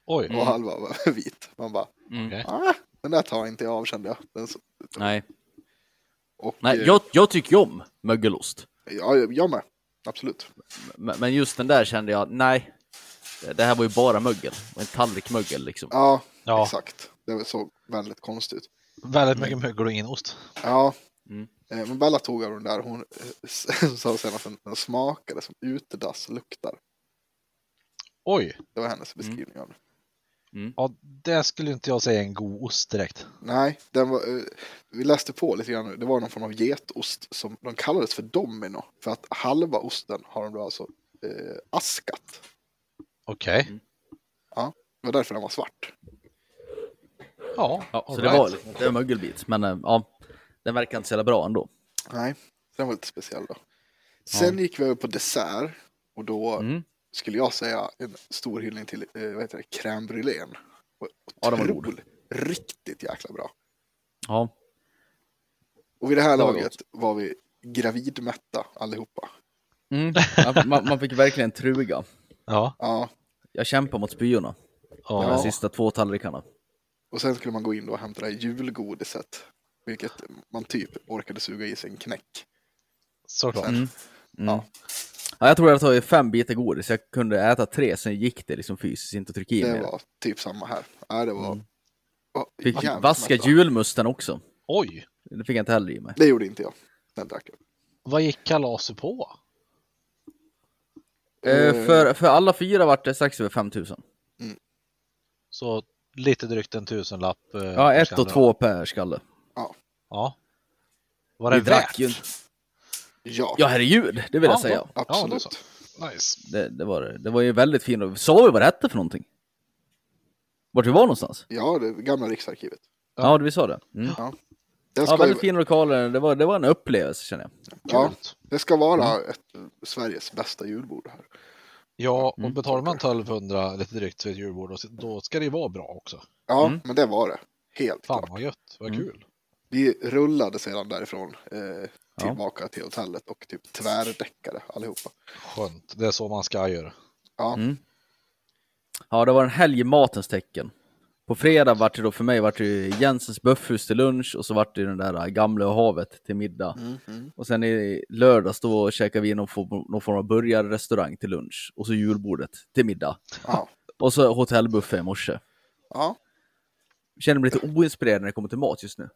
C: Oj.
B: och halva var vit. Man bara,
A: Mm.
C: Okej.
B: "Ah, den där tar inte jag av kände jag. Den, så-
A: Nej,
B: och,
A: Nej
B: eh,
A: jag, jag tycker ju om mögelost.
B: ja, jag med. Absolut.
A: Men, men just den där kände jag, nej. Det- Det här var ju bara mögel. En tallrik mögel liksom.
B: Ja,
C: Ja,
B: exakt. Det såg väldigt konstigt ut.
C: väldigt mycket mögel och ingen ost.
B: Ja.
A: Mm.
B: Eh, Men Bella tog av den där. Hon eh, sa sen att den, den smakade som utedass luktar.
C: Oj,
B: Det var hennes
A: Mm.
B: beskrivning av den.
C: ja, det skulle inte jag säga är en god ost direkt.
B: Nej, den var, eh, vi läste på lite grann. nu. Det var någon form av getost som de kallades för domino. För att halva osten har de då alltså eh, askat.
C: Okej.
B: Det var därför den var svart.
C: Ja,
A: Ja, så
C: all
A: det
C: right.
A: var lite det var mögelbit. Men eh, ja, den verkar inte så jävla bra ändå.
B: Nej, den var lite speciell då. Sen gick vi över på dessert. Och då
A: Mm.
B: skulle jag säga en stor hyllning till eh, vad heter det, crème brûlée.
A: Ja, den var god.
B: Otroligt. Riktigt jäkla bra.
A: Ja.
B: Och vid det här
A: Det var
B: laget var vi gravidmätta allihopa.
A: Mm. Man, man fick verkligen truga.
C: Ja,
B: Ja,
A: Jag kämpar mot spyorna. De här
C: ja.
A: sista två tallrikarna.
B: och sen skulle man gå in då och hämta det här julgodiset. Vilket man typ orkade suga i sig en knäck.
C: såklart.
B: Mm.
A: Mm.
B: Ja.
A: Ja, jag tror jag tog fem bitar godis. Jag kunde äta tre, sen gick det liksom fysiskt inte att trycka in
B: Det
A: mer.
B: var typ samma här. Ja, det var... Ja,
A: Mm. Fick
B: jävligt
A: vaska
B: mätta.
A: julmusten också.
C: Oj,
A: Det fick jag inte heller i mig.
B: Det gjorde inte jag. Den drack jag.
C: vad gick kalaset på?
A: Eh, för, för alla fyra vart det strax över 5000.
C: Så lite drygt en tusenlapp. eh,
A: Ja, ett
C: kände
A: och
C: du.
A: två per skalle.
C: Ja. Var det
A: Vi drack
C: värt?
A: ju inte.
B: Ja,
A: Ja, herregud, det vill
C: Ja,
A: jag säga.
C: då- Ja, då
B: absolut.
C: så. Nice.
A: Det, det, var, det. det var ju väldigt fint. Och Sa vi vad det hette för någonting? Vart vi var någonstans?
B: Ja, det gamla riksarkivet.
C: Ja.
A: Ja, det vi sa det. Mm.
B: Det
A: Ja,
B: ska,
A: väldigt fina lokaler. Det var, det var en upplevelse känner jag.
B: ja,
C: Coolt.
B: det ska vara
A: Mm.
B: ett, eh, Sveriges bästa julbord här.
C: Ja, och
A: Mm.
C: betalar man 1200 lite drygt för ett julbord, då- då ska det ju vara bra också.
B: Ja,
A: Mm.
B: men det var det. Helt
C: Fan
B: klart.
C: vad gött, vad
A: Mm.
C: kul.
B: Vi rullade sedan därifrån eh,
A: Ja.
B: tillbaka till hotellet och typ tvärdäckade allihopa.
C: Skönt, det är så man ska göra.
B: Ja,
A: Mm. Ja, det var en helg i matens tecken. På fredag vart det då för mig vart det ju Jensens böffhus till lunch och så vart det ju den där äh, gamla havet till middag. Och sen i lördags då käkade vi någon form, någon form av burgarrestaurang till lunch och så julbordet till middag.
B: Ja.
A: Och så hotellbuffé i morse.
B: Ja.
A: Känner mig lite oinspirerad när det kommer till mat just nu.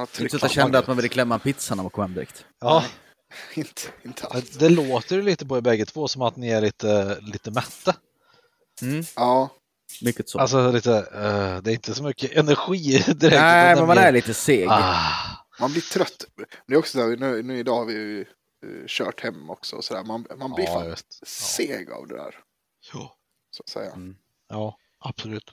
A: Det är inte
B: tryck
A: så att jag kände
B: på
A: att man ville klämma en pizza när man kom hem direkt.
C: Ja,
B: inte, inte alls.
C: Eh, det låter ju lite på er bägge två som att ni är lite, lite mätta.
B: Ja,
A: Mycket så.
C: Alltså lite, eh, det är inte så mycket energi direkt.
A: Nej,
C: utan
A: men man
C: mer-
A: är lite seg.
C: Ah,
B: man blir trött. Men Det är också så här, nu, nu idag har vi ju eh, kört hem också och sådär. Man, man blir
C: ja,
B: fan
C: just.
B: seg av det där.
C: Ja.
B: Så att säga.
C: ja, absolut.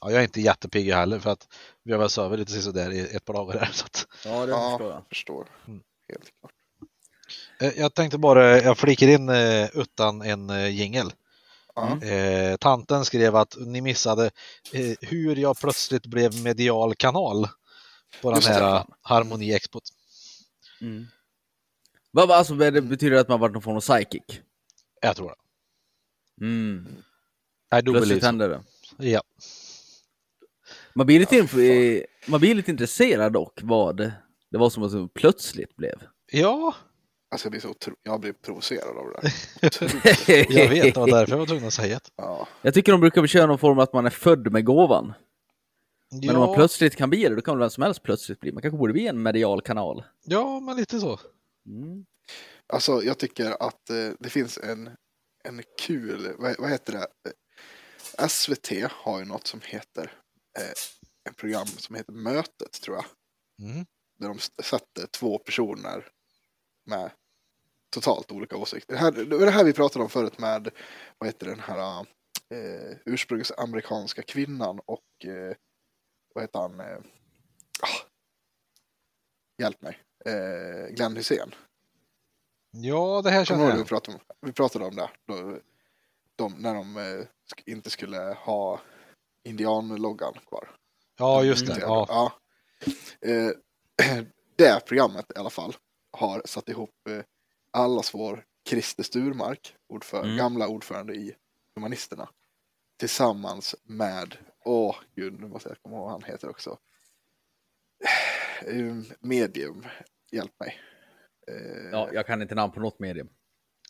C: Ja, jag är inte jättepigg heller för att vi har väl sovit lite sisådär i ett par dagar här. Så att,
A: Ja, det
B: Ja.
A: förstår jag.
B: Förstår.
C: Mm.
B: Helt klart.
C: eh, jag tänkte bara, jag flikar in eh, utan en eh, jingel.
B: Ja.
A: Mm.
C: Eh, tanten skrev att ni missade eh, hur jag plötsligt blev medial kanal på den
B: Just det.
C: här eh, harmoniexpot.
A: Mm. Vad, vad- alltså, det betyder det att man varit någon form av psychic?
C: Jag tror det.
A: Mm.
C: I do
A: Plötsligt
C: believe.
A: händer det.
C: Ja.
A: Man blir, lite
B: Ja,
A: inf- eh, man blir lite intresserad dock vad det var som att det plötsligt blev.
C: ja,
B: Alltså jag blir så otro... jag blir provocerad av det där. Otroligt.
C: jag vet. Det var därför jag var tvungen att säga det.
B: Ja.
A: Jag tycker de brukar köra någon form av att man är född med gåvan. Men om man
C: Ja,
A: plötsligt kan bli det, då kan väl vem som helst plötsligt bli. Man kanske borde bli en medial kanal.
C: ja, men lite så.
A: Mm.
B: Alltså jag tycker att eh, det finns en, en kul, vad, vad heter det? Eh, SVT har ju något som heter, eh, en program som heter Mötet tror jag.
C: Mm.
B: Där de s- sätter två personer med totalt olika åsikter. Det, här, det var det här vi pratade om förut med, vad heter den här eh, ursprungsamerikanska kvinnan och, eh, vad heter han, eh, ah, hjälp mig, eh, Glenn Hysén.
C: Ja, det här
B: Kommer du
C: känner
B: ihåg det vi
C: jag.
B: pratade om? Vi pratade om det. Då, de, när de eh, sk- inte skulle ha indianloggan kvar. Mm.
C: Ja, just det. Ja.
B: Ja. Eh, det programmet i alla fall har satt ihop eh, allas vår Christer Sturmark, ordför,
A: Mm.
B: gamla ordförande i Humanisterna, tillsammans med, åh gud, nu måste jag komma ihåg vad han heter också. Eh, Medium, hjälp mig. Eh,
A: Ja, jag kan inte namn på något medium.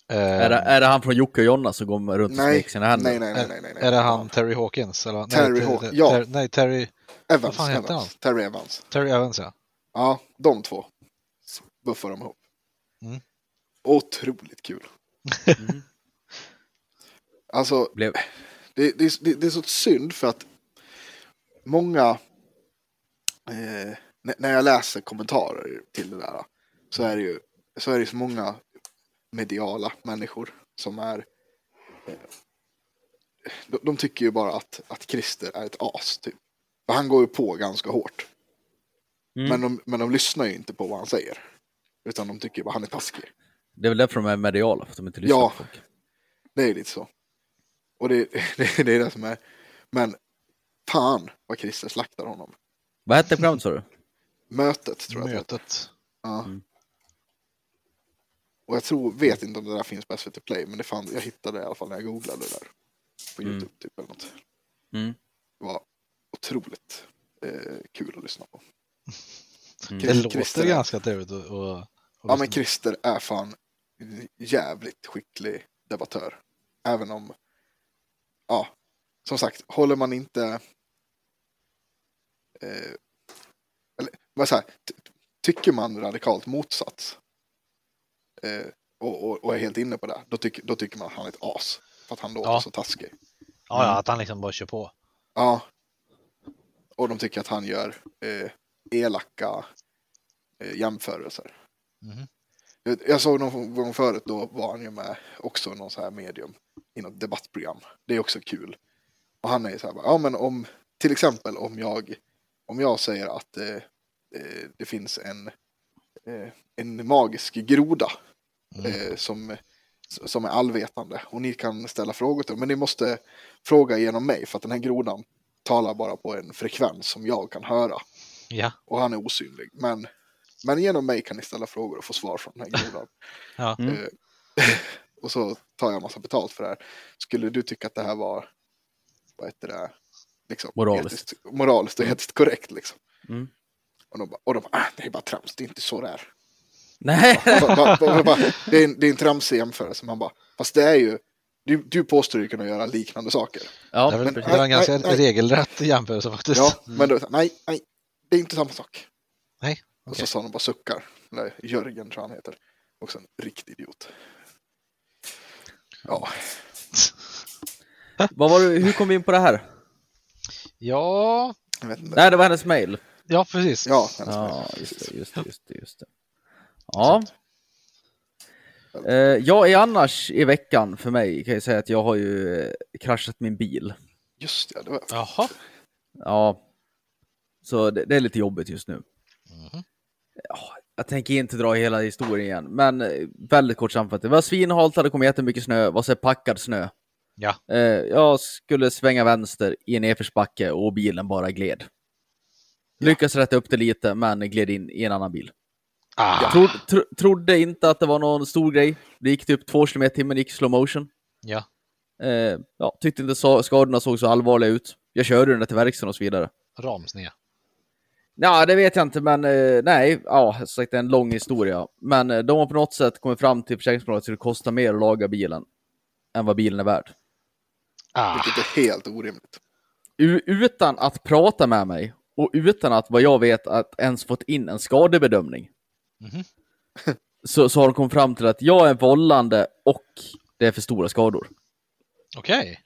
C: Eh,
A: Är, det, är det han från Jocke och Jonna som går runt och
B: Nej,
A: smeker sina händer?
B: nej, nej, nej, nej, nej.
C: Är det han Terry Hawkins? Eller?
B: Terry
C: nej,
B: Haw-
C: Ter-
B: ja.
C: Ter- nej, Terry, Vad
B: Evans,
C: fan heter
B: Evans. Terry Evans.
C: Terry Evans ja.
B: Ja, de två s- buffar de ihop.
C: Mm.
B: Otroligt kul.
A: Mm.
B: Alltså,
A: Blev...
B: det, det, är- det, det är så synd för att många... Eh, när- när jag läser kommentarer till det där så är det ju så, är det ju så många mediala människor som är... Eh, de, de tycker ju bara att, att Christer är ett as, typ. För han går ju på ganska hårt.
A: Mm.
B: Men, de, men de lyssnar ju inte på vad han säger. Utan de tycker bara han är taskig.
A: Det är väl därför de är mediala, för att de inte lyssnar
B: Ja.
A: på folk.
B: Det är lite så. Och det, det, det är det som är. Men fan vad Christer slaktar honom.
A: Vad hette programmet sa du?
B: Mötet tror jag. att det heter.
C: Mötet.
B: Ja.
A: Mm.
B: Och jag tror, vet inte om det där finns på SVT Play, men det fann, jag hittade det i alla fall när jag googlade det där. På
A: Mm.
B: YouTube typ eller något.
A: Mm.
B: Det var otroligt eh, kul att lyssna på.
A: Mm.
C: Det
B: Chris-
C: låter
B: Christer är-
C: ganska trevligt. Och, och, och
B: Ja men Christer är fan jävligt skicklig debattör. Även om, ja, som sagt, håller man inte... Eh, eller, vad säger, ty, tycker man radikalt motsats eh, och, och, och är helt inne på det, då, tyck, då tycker man att han är ett as. För att han låter
C: Ja.
B: så taskig.
C: ja, ja, att han liksom bara kör på.
B: Ja. Och de tycker att han gör eh, elaka eh, jämförelser.
C: Mhm.
B: Jag- Jag såg någon gång förut, då var han ju med också i någon så här medium i något debattprogram. Det är också kul. Och han är ju så här, bara, ja men om, till exempel om jag, om jag säger att eh, eh, det finns en, eh, en magisk groda
C: Mm.
B: eh, som, som är allvetande och ni kan ställa frågor till men ni måste fråga genom mig för att den här grodan talar bara på en frekvens som jag kan höra
C: Ja,
B: och han är osynlig. Men, men genom mig kan ni ställa frågor och få svar från den här grodan.
C: Ja.
A: Mm.
B: Eh, och så tar jag en massa betalt för det här. Skulle du tycka att det här var, vad heter det, Liksom,
A: Moraliskt.
B: Etiskt, moraliskt och etiskt korrekt liksom.
A: Mm.
B: Och de bara, och de bara ah, det är bara trams, det är inte så det är.
A: Nej!
B: Och bara- bara- bara- bara, Det är en, det är en tramsig jämförelse, man bara, fast det är ju, du, du påstår ju kunna göra liknande saker.
A: Ja,
C: det, är väl, det
A: precis.
C: var en ganska
B: Nej, nej.
C: regelrätt jämförelse faktiskt.
B: Ja,
A: Mm.
B: men då, nej, nej, det är inte samma sak.
C: Nej,
B: Och
C: okej.
B: så sa de bara suckar. Nej, Jörgen tror jag han heter. Också en riktig idiot. Ja,
A: Vad var det, hur kom vi in på det här?
C: Ja,
B: jag vet inte.
A: Nej, det var hennes mail.
C: ja precis.
B: Ja, hennes mail.
A: Ja, just det, just det, just det. Just det. Ja. Eh, jag är annars i veckan för mig kan jag säga att jag har ju eh, kraschat min bil.
B: just det. det var,
C: Jaha.
A: Ja. Så det, det är lite jobbigt just nu.
C: Mhm.
A: Ja, jag tänker inte dra hela historien igen, men eh, väldigt kort sammanfattat. Det var svinhalt, det kom jättemycket snö, var så här packad snö.
C: Ja.
A: Eh, jag skulle svänga vänster i en nedförsbacke och bilen bara gled. Lyckades rätta upp det lite, men gled in i en annan bil.
C: Ah.
A: Tro, tro, trodde inte att det var någon stor grej. Det gick typ två kilometer i timmen, det gick i slow motion.
C: Ja.
A: Eh, ja, tyckte inte så, skadorna såg så allvarliga ut. Jag körde den där till verkstaden och så vidare.
C: Ramsned.
A: Ja, det vet jag inte, men eh, nej, ja, som sagt, det är en lång historia. Men eh, de har på något sätt kommit fram till försäkringsbolaget så det kostar mer att laga bilen än vad bilen är värd.
C: Ah.
B: Vilket är helt orimligt.
A: U- utan att prata med mig och utan att, vad jag vet, att ens fått in en skadebedömning.
C: Mhm.
A: så, så har de kommit fram till att jag är vållande och det är för stora skador.
C: Okej.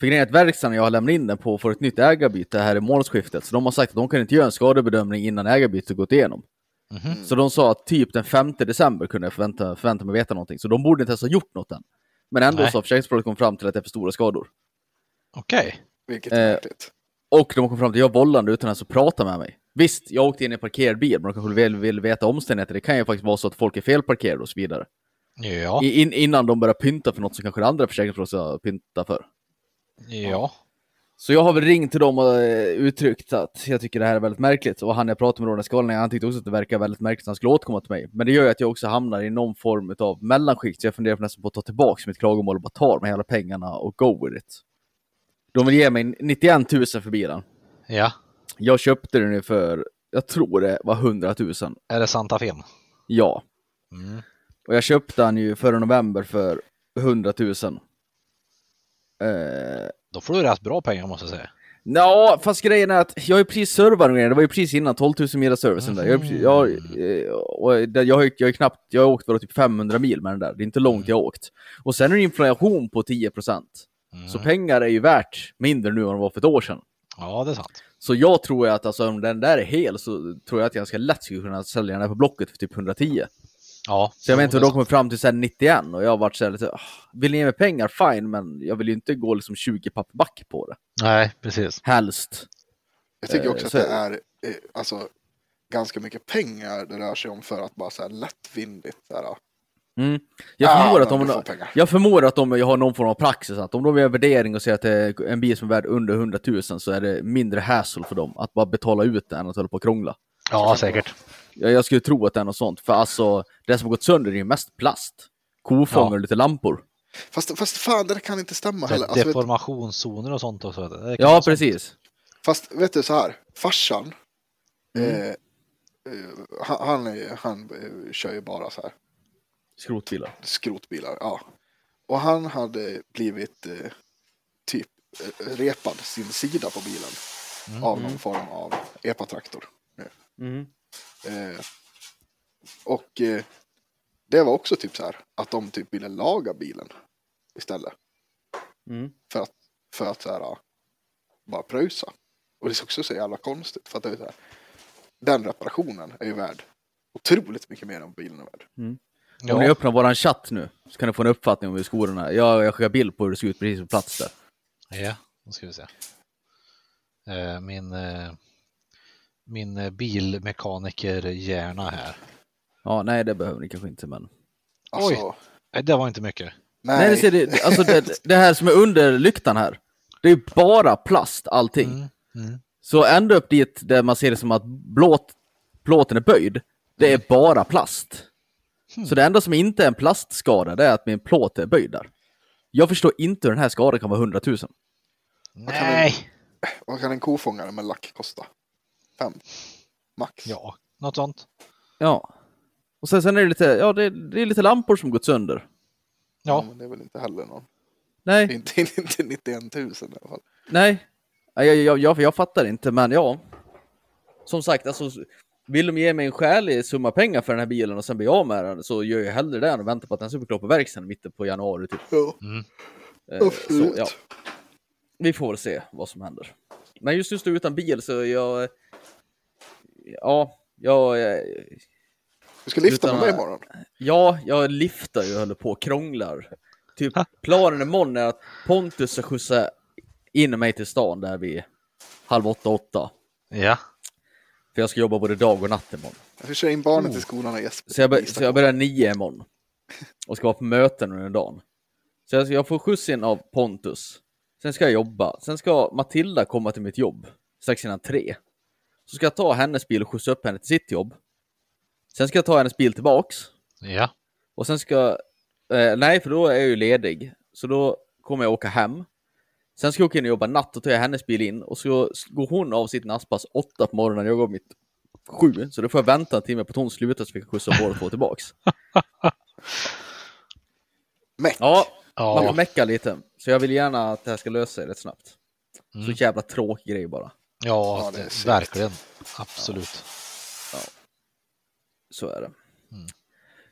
A: För grejen är att verkstaden jag har lämnat in den på får ett nytt ägarbyte här i månadsskiftet. Så de har sagt att de kan inte göra en skadebedömning innan ägarbytet gått igenom.
C: Mhm.
A: Så de sa att typ den 5 december kunde jag förvänta, förvänta mig veta någonting. Så de borde inte ens ha gjort något än. Men ändå
C: Nej.
A: så har försäkringsbolaget kommit fram till att det är för stora skador.
C: Okej.
B: Vilket är
A: Eh,
B: märkligt.
A: Och de har kommit fram till att jag är vållande utan ens att prata med mig. Visst, jag åkte in i en parkerad bil, men de kanske väl vill veta omständigheter. Det kan ju faktiskt vara så att folk är felparkerade och så vidare.
C: Ja.
A: I- In, innan de börjar pynta för något som kanske det andra försäkringsbolaget ska pynta för.
C: Ja.
A: Så jag har väl ringt till dem och eh, uttryckt att jag tycker det här är väldigt märkligt. Och han jag pratade med då, den skålen, han tyckte också att det verkar väldigt märkligt att han skulle återkomma till mig. Men det gör ju att jag också hamnar i någon form av mellanskikt. Så jag funderar på nästan på att ta tillbaka mitt klagomål och bara ta de här hela pengarna och go with it. De vill ge mig 91 000 för bilen.
C: Ja.
A: Jag köpte den ju för, jag tror det var 100 000.
C: Är det Santa Fen?
A: Ja.
C: Mm.
A: Och jag köpte den ju förra november för 100 000. Eh,
C: Då får du rätt bra pengar måste jag säga.
A: Ja, fast grejen är att jag har ju precis servat de grejerna. Det var ju precis innan 12 000 mila servicen där. Jag, har ju precis- jag, har- eh, och det- jag, har ju- jag har ju knappt, jag har åkt bara typ 500 mil med den där. Det är inte långt jag har åkt. Och sen är det inflation på 10 procent.
C: Mm.
A: Så pengar är ju värt mindre nu än vad det var för ett år sedan.
C: Ja, det är sant.
A: Så jag tror ju att alltså, om den där är hel så tror jag att jag ganska lätt skulle kunna sälja den här på Blocket för typ 110.
C: Ja.
A: Så jag vet
C: Jo,
A: inte hur
C: det är
A: de kommer fram till sen 91 och jag har varit så här lite, "Ah, vill ni ge mig pengar, fine, men jag vill ju inte gå liksom 20 papp back på det.
C: sant. Nej, precis.
A: Helst.
B: Jag tycker
A: eh,
B: också att
A: så-
B: det är eh, alltså, ganska mycket pengar det rör sig om för att bara så här lättvindigt. Så här,
A: Mm. Jag,
B: Ah,
A: förmodar att
B: men
A: de,
B: du får pengar.
A: jag förmodar att de har någon form av praxis. Att om de gör en värdering och säger att det är en bil som är värd under 100 000 så är det mindre hassle för dem att bara betala ut den än att hålla på och krångla.
C: Ja, säkert.
A: Jag, jag skulle tro att det är något sånt. För alltså, det som har gått sönder är ju mest plast. Kofångare
C: Ja.
A: och lite lampor.
B: fast, fast fan, det där kan inte stämma
C: Så
B: heller. Alltså, vet,
C: deformationszoner och sånt också. Det kan
A: Ja,
C: vara
A: precis.
B: Fast vet du så här, farsan, eh, eh, han, han, är- han eh, kör ju bara så här
A: Skrotbilar.
B: skrotbilar. Ja. Och han hade blivit eh, typ eh, repad sin sida på bilen av någon form av epatraktor. Eh, och eh, det var också typ så här att de typ ville laga bilen istället för att, för att så här, ja, bara pröjsa. Och det är också så jävla konstigt för att det är så här, den reparationen är ju värd otroligt mycket mer än vad bilen är värd.
C: sånt.
A: Om ni
C: Ja.
A: öppnar våran chatt nu så kan ni få en uppfattning om hur skorna är. Jag, jag skickar bild på hur det ser ut precis på plats där.
C: Ja, då ska vi se. Eh, Min, eh, min eh, bilmekanikerhjärna här.
A: Ja, nej, det behöver ni kanske inte, men.
B: Alltså,
C: Nej, det var inte mycket.
B: nej.
A: Nej, det, ser det, alltså det, det här som är under lyktan här, det är ju bara plast allting.
C: Mm, mm.
A: Så ända upp dit där man ser det som att plåt, plåten är böjd, det
C: Mm.
A: är bara plast.
C: Hmm.
A: Så det enda som inte är en plastskada, det är att min plåt är böjd där. Jag förstår inte hur den här skadan kan vara 100 000.
B: kan
C: Nej,
B: Vad kan en kofångare med lack kosta? Fem? Max?
C: Ja, något sånt.
A: Ja. Och sen, sen är det lite, ja det, det är lite lampor som gått sönder.
C: Ja.
B: Men det är väl inte heller någon.
A: Nej,
B: Inte, inte 91 000 i alla fall.
A: nej. Nej, Jag, jag, jag, jag fattar inte, men ja. Som sagt, alltså vill de ge mig en skälig summa pengar för den här bilen och sen bli av med den så gör jag hellre det än att vänta på att den ska bli klar på verkstaden i mitten på januari. Typ.
B: Ja,
A: Eh,
B: absolut.
A: Så, ja. Vi får väl se vad som händer. Men just nu står jag utan bil så jag... Ja, jag...
B: Du ska lifta
A: Utan
B: med mig
A: att-
B: imorgon.
A: Ja, jag liftar ju och håller på och krånglar. Typ planen imorgon är att Pontus ska skjutsa in mig till stan där vid halv åtta, åtta.
C: Ja.
A: För jag ska jobba både dag och natt imorgon.
B: Jag ska köra in barnen till skolan och Jesper.
A: Så Oh. jag, bör- så jag börjar nio imorgon. Och ska vara på möten under dagen. Så jag, jag får skjuts in av Pontus. Sen ska jag jobba. Sen ska Matilda komma till mitt jobb strax innan tre. Så ska jag ta hennes bil och skjutsa upp henne till sitt jobb. Sen ska jag ta hennes bil tillbaks.
C: Ja.
A: Och sen ska... Eh, nej, för då är jag ju ledig. Så då kommer jag åka hem. Sen ska jag åka in och jobba natt och tar jag hennes bil in och så går hon av sitt nattpass åtta på morgonen. Jag går mitt sju, så då får jag vänta en timme på att hon slutar så vi kan skjutsa båda två tillbaks.
B: Mäck.
A: Ja, man får
C: Ja.
A: mecka lite. Så jag vill gärna att det här ska lösa sig rätt snabbt.
C: Mm.
A: Så jävla tråkig grej bara.
C: Ja,
B: det är segt.
C: verkligen. Absolut.
A: Så är det.
C: Mm.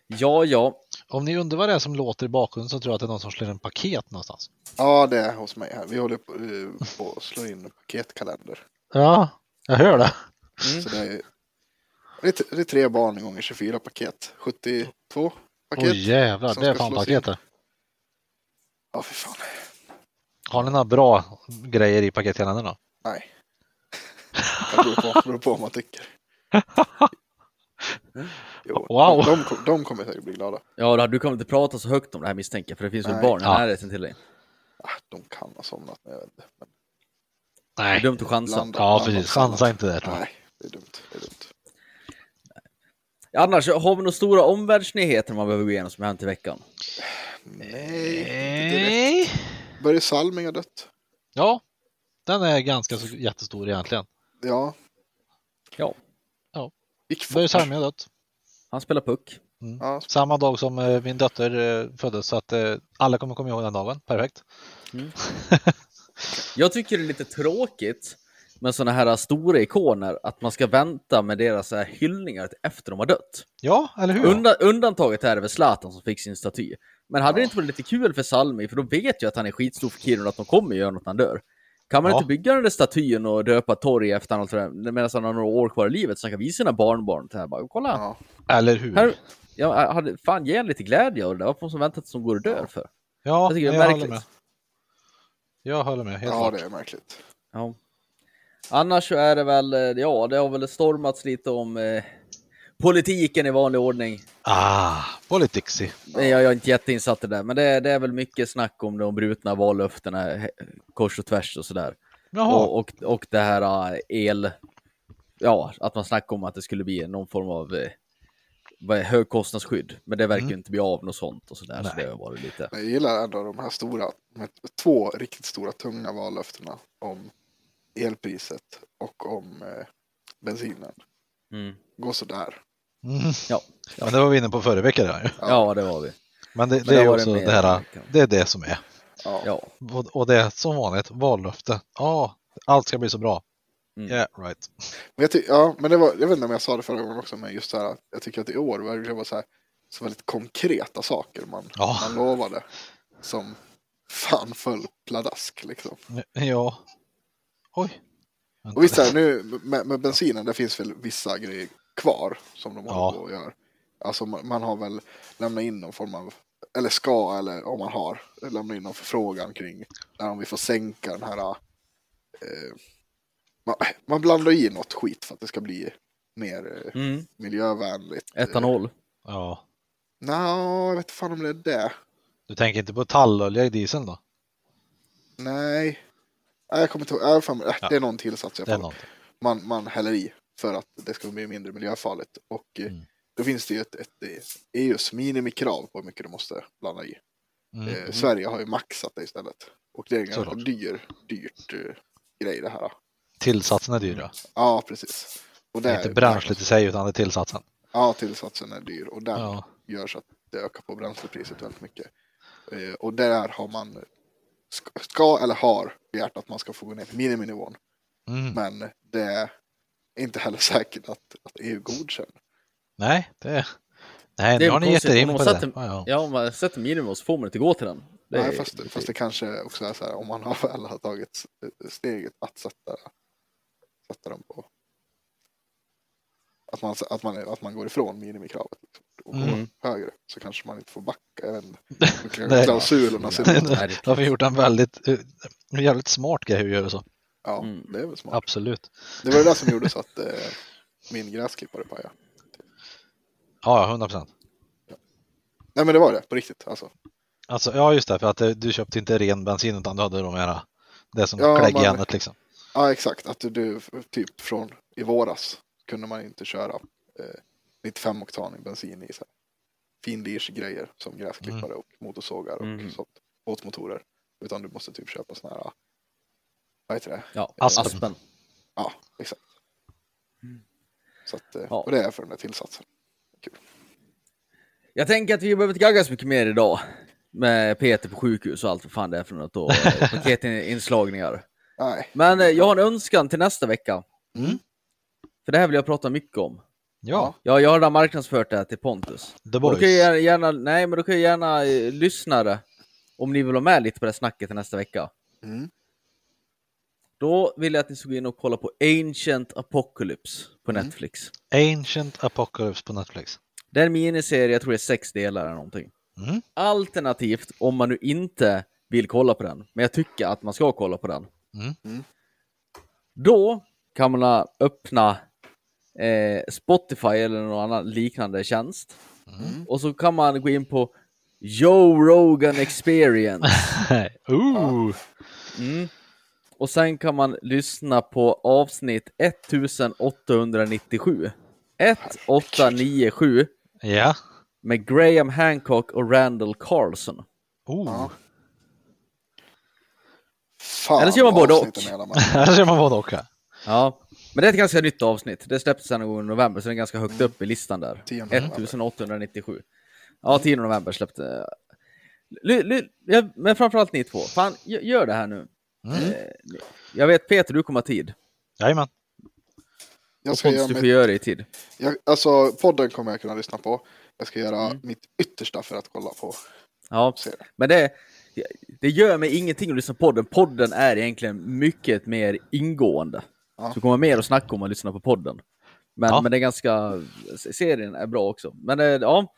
A: Ja, ja.
C: Om ni undrar vad det är som låter i bakgrunden så tror jag att det är någon som slår en paket någonstans.
B: Ja, det är hos mig här. Vi håller på, eh, på att slå in en paketkalender.
C: Ja, jag hör det. Mm.
B: Så det, är, det, är, t- det är tre barn gånger 24 paket. 72
C: Åh
B: paket.
C: jävlar,
B: som
C: det är
B: ska
C: fan
B: slås
C: paket det.
B: Ja, för fan.
C: Har ni några bra grejer i paketkalendern då?
B: Nej. Det beror på, beror på vad man tycker. Jo,
C: Wow.
B: de, de, kom- de kommer säkert bli glada.
A: Ja, du kommer inte prata så högt om det här misstänker jag, för det finns väl
B: Nej.
A: barn i
C: Ja.
A: närheten till dig.
B: Ah, De kan ha somnat. men Jag vet inte. Men
A: Det är
C: Nej.
A: dumt att chansa.
B: blandat-
C: Ja,
B: blandat
C: precis.
B: somnat.
C: Chansa inte där tror jag.
B: Nej, det är dumt. Det är dumt.
A: Annars, har vi några stora omvärldsnyheter man behöver gå igenom som har hänt i veckan?
B: Nej, inte direkt. Börje Salming har dött.
C: Ja, den är ganska så jättestor egentligen.
B: Ja.
A: Ja.
B: Gick fort.
C: Börje Salming har dött.
A: Han spelar puck.
B: Ja,
C: Samma dag som eh, min dotter eh, föddes så att eh, alla kommer komma ihåg den dagen. Perfekt.
A: Jag tycker det är lite tråkigt med sådana här stora ikoner, att man ska vänta med deras så här hyllningar till efter de har dött.
C: Ja, eller hur?
A: Unda, undantaget här är väl Zlatan som fick sin staty. Men hade det
B: Ja.
A: inte varit lite kul för Salmi, för då vet jag att han är skitstor för Kiruna, att de kommer göra något när han dör. Kan man
C: Ja.
A: inte bygga den där statyn och döpa ett torg efter honom tror jag, medan han har några år kvar i livet, så han kan visa sina barnbarn? Så här, bara, Kolla,
B: ja.
C: Eller hur?
A: Här, jag hade, fan ge en lite glädje av det där. Varför måste man vänta tills de går och dör för?
C: Ja,
A: Jag tycker
C: jag,
A: det är
C: håller
A: märkligt.
C: med. Jag håller med, helt
B: ja
C: klart.
B: det är märkligt.
A: Ja. Annars så är det väl, eh, ja det har väl stormats lite om eh, politiken i vanlig ordning.
C: Ah, politicsy.
A: Nej, Jag, jag är inte jätteinsatt i det där, men det, är- det är väl mycket snack om de brutna vallöftena eh, kors och tvärs och sådär.
C: Jaha,
A: Och, och, och det här eh, el, ja att man snackar om att det skulle bli någon form av eh, vad är- högkostnadsskydd. Men det verkar
B: Mm.
A: ju inte bli av något sånt och sådär. Så
C: Nej.
A: det har varit lite,
B: Men Jag gillar ändå de här stora, de här två riktigt stora tunga vallöftena om elpriset och om eh, bensinen.
A: mm.
B: Gå sådär.
C: Mm.
A: Ja.
C: Men det var vi inne på förra veckan. Där.
B: Ja.
A: ja det var vi.
C: Men det, det
A: det
C: är ju
A: var det
C: också
A: mer
C: det här.
A: veckan.
C: Det är det som är.
B: Ja.
A: Ja.
C: Och och det är som vanligt vallöfte. Ja, allt ska bli så bra.
A: Mm.
C: Yeah, right.
B: Men, jag, ty- ja, men det var, jag vet inte om jag sa det förra gången också, men just det här att jag tycker att i år verkar det vara så här så väldigt konkreta saker man,
C: Ja.
B: man lovade som fan föll pladask liksom.
C: Ja. Oj. Vänta.
B: Och visst är det nu med, med bensinen, det finns väl vissa grejer kvar som de håller
C: Ja.
B: på och gör. Alltså man, man har väl lämnat in någon form av, eller ska, eller om man har, lämnat in någon förfrågan kring när om vi får sänka den här. Eh, man, man blandar i något skit för att det ska bli mer eh,
A: Mm.
B: miljövänligt.
A: Etanol.
C: Ja.
B: Nja, jag vet fan om det är det.
C: Du tänker inte på tallolja i dieseln då?
B: Nej. Nej, Jag kommer inte ihåg, jag har för mig- äh,
C: Ja.
B: det är någon tillsats i alla
C: Det är
B: fall.
C: någonting.
B: man, man häller i för att det ska bli mindre miljöfarligt. Och eh,
C: Mm.
B: då finns det ju ett, ett eh, EUs minimikrav på hur mycket du måste blanda i.
C: Mm.
B: Eh, Sverige har ju maxat det istället. Och det är en ganska
C: Såklart.
B: dyr, dyrt eh, grej det här. då.
C: Tillsatsen är dyr ja.
B: Ja, precis. Och
C: Det är
B: där-
C: inte bränslet i sig utan det är tillsatsen.
B: Ja, tillsatsen är dyr och den
C: Ja.
B: gör så att det ökar på bränslepriset väldigt mycket. Eh, och där har man ska, ska eller har begärt att man ska få gå ner till miniminivån.
C: Mm.
B: Men det är inte heller säkert att, att EU godkänner.
C: Nej, det...
A: Det
C: Nej, nu
A: är
C: har ni gett
A: konstigt,
C: er
A: om de
C: in på
A: har
C: det.
A: satt en-
C: Ja, ja.
A: Ja, om man sätter minimum så får man inte gå till den. Det
B: Nej,
A: är-
B: fast, fast det kanske också är så här om man har väl har tagit s- steget att sätta, sätta dem på. Att man, att, man, att man går ifrån minimikravet liksom, och går
C: Mm.
B: högre så kanske man inte får backa. Jag vet inte.
C: Nej.
B: Klausulerna ser ut.
A: Nej, det är
C: Då har vi gjort en väldigt, eh, en jävligt smart grej hur vi gör så.
B: Ja,
A: Mm.
B: det är väl smart.
C: Absolut.
B: Det var det där som gjorde så att eh, min gräsklippare pajade.
C: Ja, ja, 100 procent.
B: Nej men det var det, på riktigt alltså.
C: Alltså, ja, just det, för att det, du köpte inte ren bensin utan du hade de här, eh, det som
B: Ja,
C: klägg
B: man-
C: i järnet liksom.
B: Ja exakt, att du, du typ från i våras kunde man inte köra eh, 95 oktanig bensin i så här finlirsgrejer som gräsklippare och motorsågar och
A: Mm.
B: sånt. Båtmotorer. Utan du måste typ köpa såna här, vad heter det?
A: Ja,
C: Aspen.
A: aspen.
B: Ja, exakt. Så att, eh,
A: Mm. Ja.
B: och det är för den där tillsatsen.
A: Jag tänker att vi behöver inte gagga så mycket mer idag. Med Peter på sjukhus och allt vad fan det är för något. Och eh, paketinslagningar.
B: Nej,
A: Men eh, jag har en önskan till nästa vecka.
C: Mm.
A: För det här vill jag prata mycket om.
C: Ja,
A: Ja, jag har redan marknadsfört det här till Pontus.
C: The
A: Och Då
C: Boys.
A: kan jag gärna- gärna, nej, men då kan jag gärna eh, lyssnare, om ni vill vara med lite på det här snacket till nästa vecka.
B: Mm.
A: Då vill jag att ni ska gå in och kolla på Ancient Apocalypse på
C: Mm.
A: Netflix.
C: Ancient Apocalypse på Netflix.
A: Det är en miniserie, jag tror det är sex delar eller någonting.
C: Mm.
A: Alternativt, om man nu inte vill kolla på den, men jag tycker att man ska kolla på den.
C: Mm.
B: Mm.
A: Då kan man öppna eh, Spotify eller någon annan liknande tjänst.
B: Mm.
A: Och så kan man gå in på Joe Rogan Experience.
C: Ooh.
A: Mm. Och sen kan man lyssna på avsnitt 1897. 1897
C: Ja.
A: med Graham Hancock och Randall Carlson.
C: Ooh.
A: Oh.
B: Ja. fan
A: Eller så gör man
B: vad
A: både
B: avsnitten
A: och.
B: är hela man.
C: Här ser man både och. här.
A: Ja, men det är ett ganska nytt avsnitt. Det släpptes här någon gång i november, så det är ganska högt upp i listan där.
B: 10 november.
A: 1897. Ja, 10 november släppte... Ly- ly- ja, men framförallt ni två. Fan, gö- gör det här nu.
C: Mm.
A: Eh, Jag vet Peter, du kommer ha tid.
C: Jajamän.
B: Jag
A: Och
B: ska göra
A: Pontus, du
B: mitt
A: får göra det i tid.
B: Jag, alltså podden kommer jag kunna lyssna på. Jag ska göra
A: Mm.
B: mitt yttersta för att kolla på
A: Ja,
B: serien.
A: men det, det gör mig ingenting att lyssna på podden. Podden är egentligen mycket mer ingående.
B: Ja.
A: Så det kommer mer att snacka om att lyssna på podden. Men,
C: Ja.
A: men det är ganska... Serien är bra också. Men eh, ja,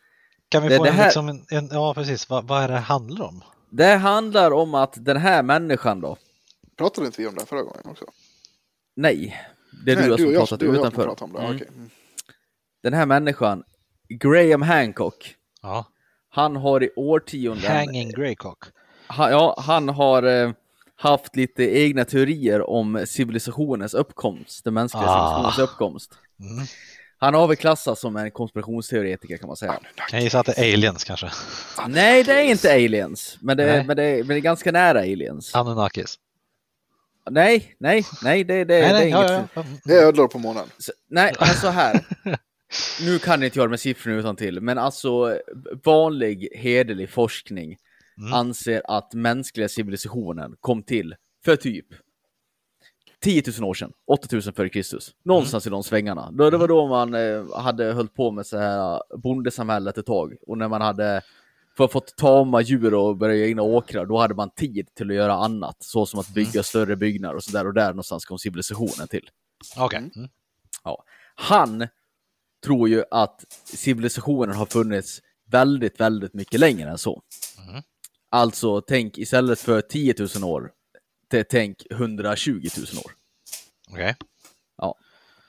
C: Kan vi
A: Det-
C: få
A: det
C: en,
A: här-
C: liksom en, en, ja precis, vad, vad är det handlar om?
A: Det handlar om att den här människan då,
B: Pratade inte vi om det här förra gången också?
A: nej, det är du, som
B: jag-
A: pratat
B: du och jag som
A: utanför.
B: pratade om det.
A: Mm.
B: okej. Mm.
A: Den här människan, Graham Hancock,
C: Ja.
A: han har i årtionden,
C: Hanging Greycock.
A: han, ja, han har eh, haft lite egna teorier om civilisationens uppkomst, den mänskliga
C: Ah.
A: civilisationens uppkomst.
C: Mm.
A: Han har väl klassats som en konspirationsteoretiker kan man säga.
C: Jag gissar att det är aliens kanske.
A: Nej, det är inte aliens, men det,
C: Nej.
A: är, men det, är, men det är ganska nära aliens.
C: Anunnakis.
A: Nej, nej, nej, det, det, det är inget.
C: ja, ja. Mm.
B: Det är ödlor på månen.
A: Så, nej, men så här. Nu kan inte jag med siffrorna utan till, men alltså eh, vanlig hederlig forskning
C: Mm.
A: anser att mänskliga civilisationen kom till för typ 10 000 år sedan, 8000 före Kristus, någonstans i de svängarna. Då, det var då man eh, hade hållit på med så här eh, bondesamhället ett tag och när man hade för fått tama djur och börja göra egna åkrar, då hade man tid till att göra annat, så som att bygga större byggnader och så där och där någonstans kom civilisationen till.
C: Okej. Mm.
A: Ja. Han tror ju att civilisationen har funnits väldigt, väldigt mycket längre än så.
C: Mm.
A: Alltså, tänk istället för 10 000 år, t- tänk 120 000 år.
C: Okej.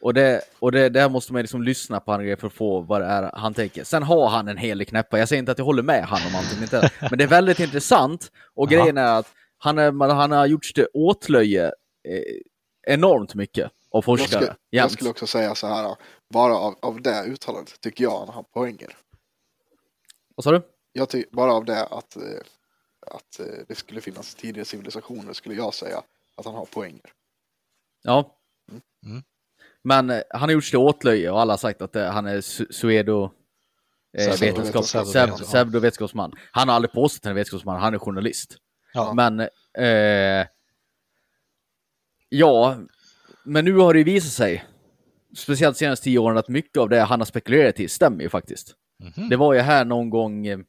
A: Och det, och det där måste man liksom lyssna på han för att få vad det är han tänker. Sen har han en helig knäppa. Jag säger inte att jag håller med han om allting, inte. men det är väldigt intressant. Och
C: Ja.
A: grejen är att han, är, man- han har gjorts till åtlöje eh, enormt mycket av
B: Jag
A: forskare.
B: skulle, jag
A: jämt.
B: skulle också säga så här, bara av, av det uttalandet tycker jag han har poänger.
A: Vad sa du?
B: Jag ty, bara av det att, eh, att eh, det skulle finnas tidigare civilisationer skulle jag säga att han har poänger.
A: Ja.
C: Mm.
A: Men eh, han har gjorts till åtlöje och alla har sagt att eh, han är su- suedo... Eh,
B: Pseudo-
A: vetenskap,
C: pseudo-
A: pseudo-
C: ja.
A: pseudovetenskapsman. Han har aldrig påstått att han är vetenskapsman, han är journalist.
C: Ja.
A: Men... Eh, ja, men nu har det ju visat sig, speciellt de senaste tio åren, att mycket av det han har spekulerat i stämmer ju faktiskt.
C: Mhm.
A: Det var ju här någon gång, eh,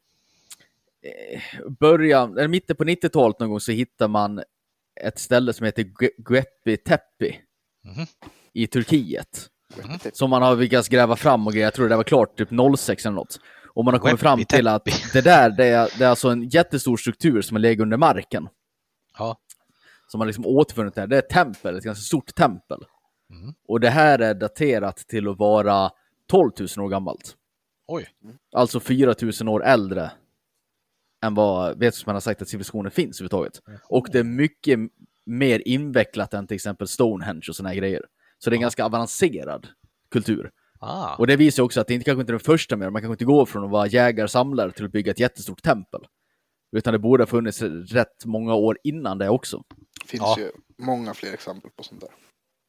A: början, eller mitten på 90-talet någon gång så hittar man ett ställe som heter Gue- Guepi Tepi
C: Mhm.
A: i Turkiet.
B: Mm.
A: Som man har lyckats gräva fram och grejer, jag tror det var klart typ 06 eller något. Och man har kommit fram till att det där, det är, det är alltså en jättestor struktur som har legat under marken.
C: Ja.
A: Som man liksom återfunnit där. Det är ett tempel, ett ganska stort tempel.
C: Mm.
A: Och det här är daterat till att vara 12 000 år gammalt.
C: Oj.
A: Alltså 4 000 år äldre än vad vetenskapsmän har sagt att civilisationen finns överhuvudtaget. Och det är mycket mer invecklat än till exempel Stonehenge och såna här grejer. Så det är en ganska avancerad kultur.
C: Ah.
A: Och det visar också att det inte kanske inte är den första mer, man kanske inte går från att vara jägarsamlare till att bygga ett jättestort tempel. Utan det borde ha funnits rätt många år innan det också.
B: Det finns
C: Ja.
B: ju många fler exempel på sånt där.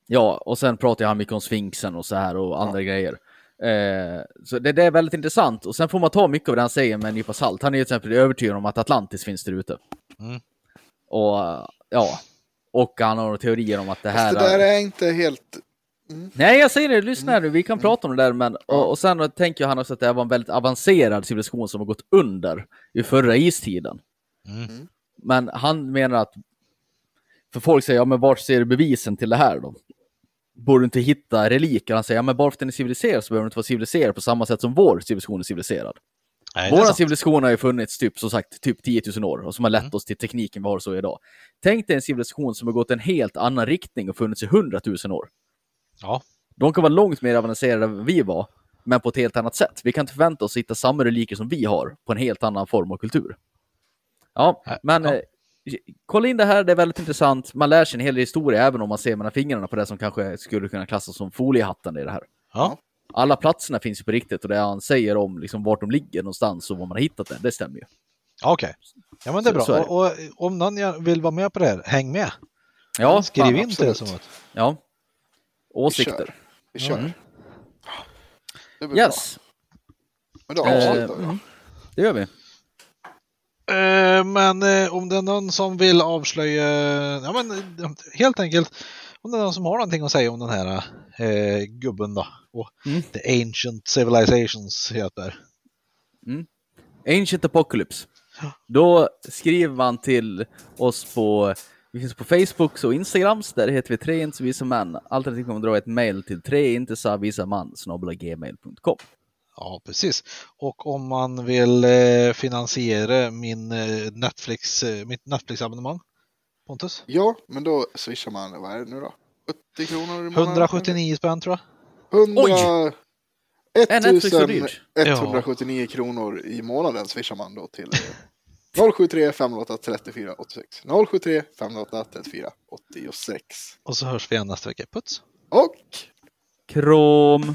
A: Ja, och sen pratar jag mycket om Sfinxen och så här och andra grejer. Eh, så det, det är väldigt intressant. Och sen får man ta mycket av det han säger med en nypa salt. Han är ju till exempel övertygad om att Atlantis finns där ute.
C: Mm.
A: Och eh, ja, och han har några teorier om att det här...
B: Fast det där är inte helt...
A: Nej, jag säger det, lyssna här nu, vi
B: Mm.
A: kan prata om det där. Men... Och, och sen tänker jag han också att det här var en väldigt avancerad civilisation som har gått under i förra istiden.
C: Mm.
A: Men han menar att, för folk säger, ja men vart ser du bevisen till det här då? Borde du inte hitta reliker? Han säger, ja men bara för att den är civiliserad så behöver den inte vara civiliserad på samma sätt som vår civilisation är civiliserad.
C: Nej, det är
A: Våra
C: sant. Mm.
A: civilisationer har ju funnits typ, som sagt, typ 10 000 år och som har lett oss till tekniken vi har så idag. Tänk dig en civilisation som har gått en helt annan riktning och funnits i 100 000 år.
C: Ja.
A: De kan vara långt mer avancerade än vi var, men på ett helt annat sätt. Vi kan inte förvänta oss att hitta samma reliker som vi har på en helt annan form av kultur. Ja,
C: Nej,
A: men
C: Äh, ja.
A: eh, kolla in det här, det är väldigt intressant. Man lär sig en hel del historia även om man ser mellan fingrarna på det som kanske skulle kunna klassas som foliehatten i det här.
C: Ja.
A: Alla platserna finns ju på riktigt och det han säger om liksom vart de ligger någonstans och var man har hittat det, det stämmer ju.
C: Ja, Okej. Ja men det är
A: Så- så är
C: bra.
A: det.
C: Och, och om någon vill vara med på det här, häng med.
A: Ja,
C: Skriv
A: fan,
C: in till det
B: absolut.
C: som att.
A: Ja.
B: Vi kör.
A: Åsikter.
B: Vi kör.
A: Mm.
B: Det blir
A: Yes,
B: bra. Men då
A: Eh,
B: avslutar vi.
A: mm. det gör vi.
C: Eh, men eh, om det är någon som vill avslöja, ja men eh, helt enkelt, om det är någon som har någonting att säga om den här eh, gubben då. Och
A: Mm.
C: The Ancient Civilizations heter.
A: Ancient Apocalypse. Då skriver man till oss på, vi finns på Facebook och Instagrams, där heter vi tre inte så visa män. Alternativt kan man dra ett mail till tre inte så visa man gmail.com.
C: Ja, precis. Och om man vill eh, finansiera min eh, Netflix, eh, mitt Netflix-abonnemang, Pontus?
B: Ja, men då swishar man, vad är det nu då? 70 kronor i månaden?
C: 179 spänn tror jag.
B: 100...
A: Oj! Är Netflix så dyrt?
B: 1179 kronor i månaden swishar man då till eh, 073 508 34 86. 073 508 34 86.
C: Och så hörs vi igen nästa vecka. Puts!
B: Och
A: Krom!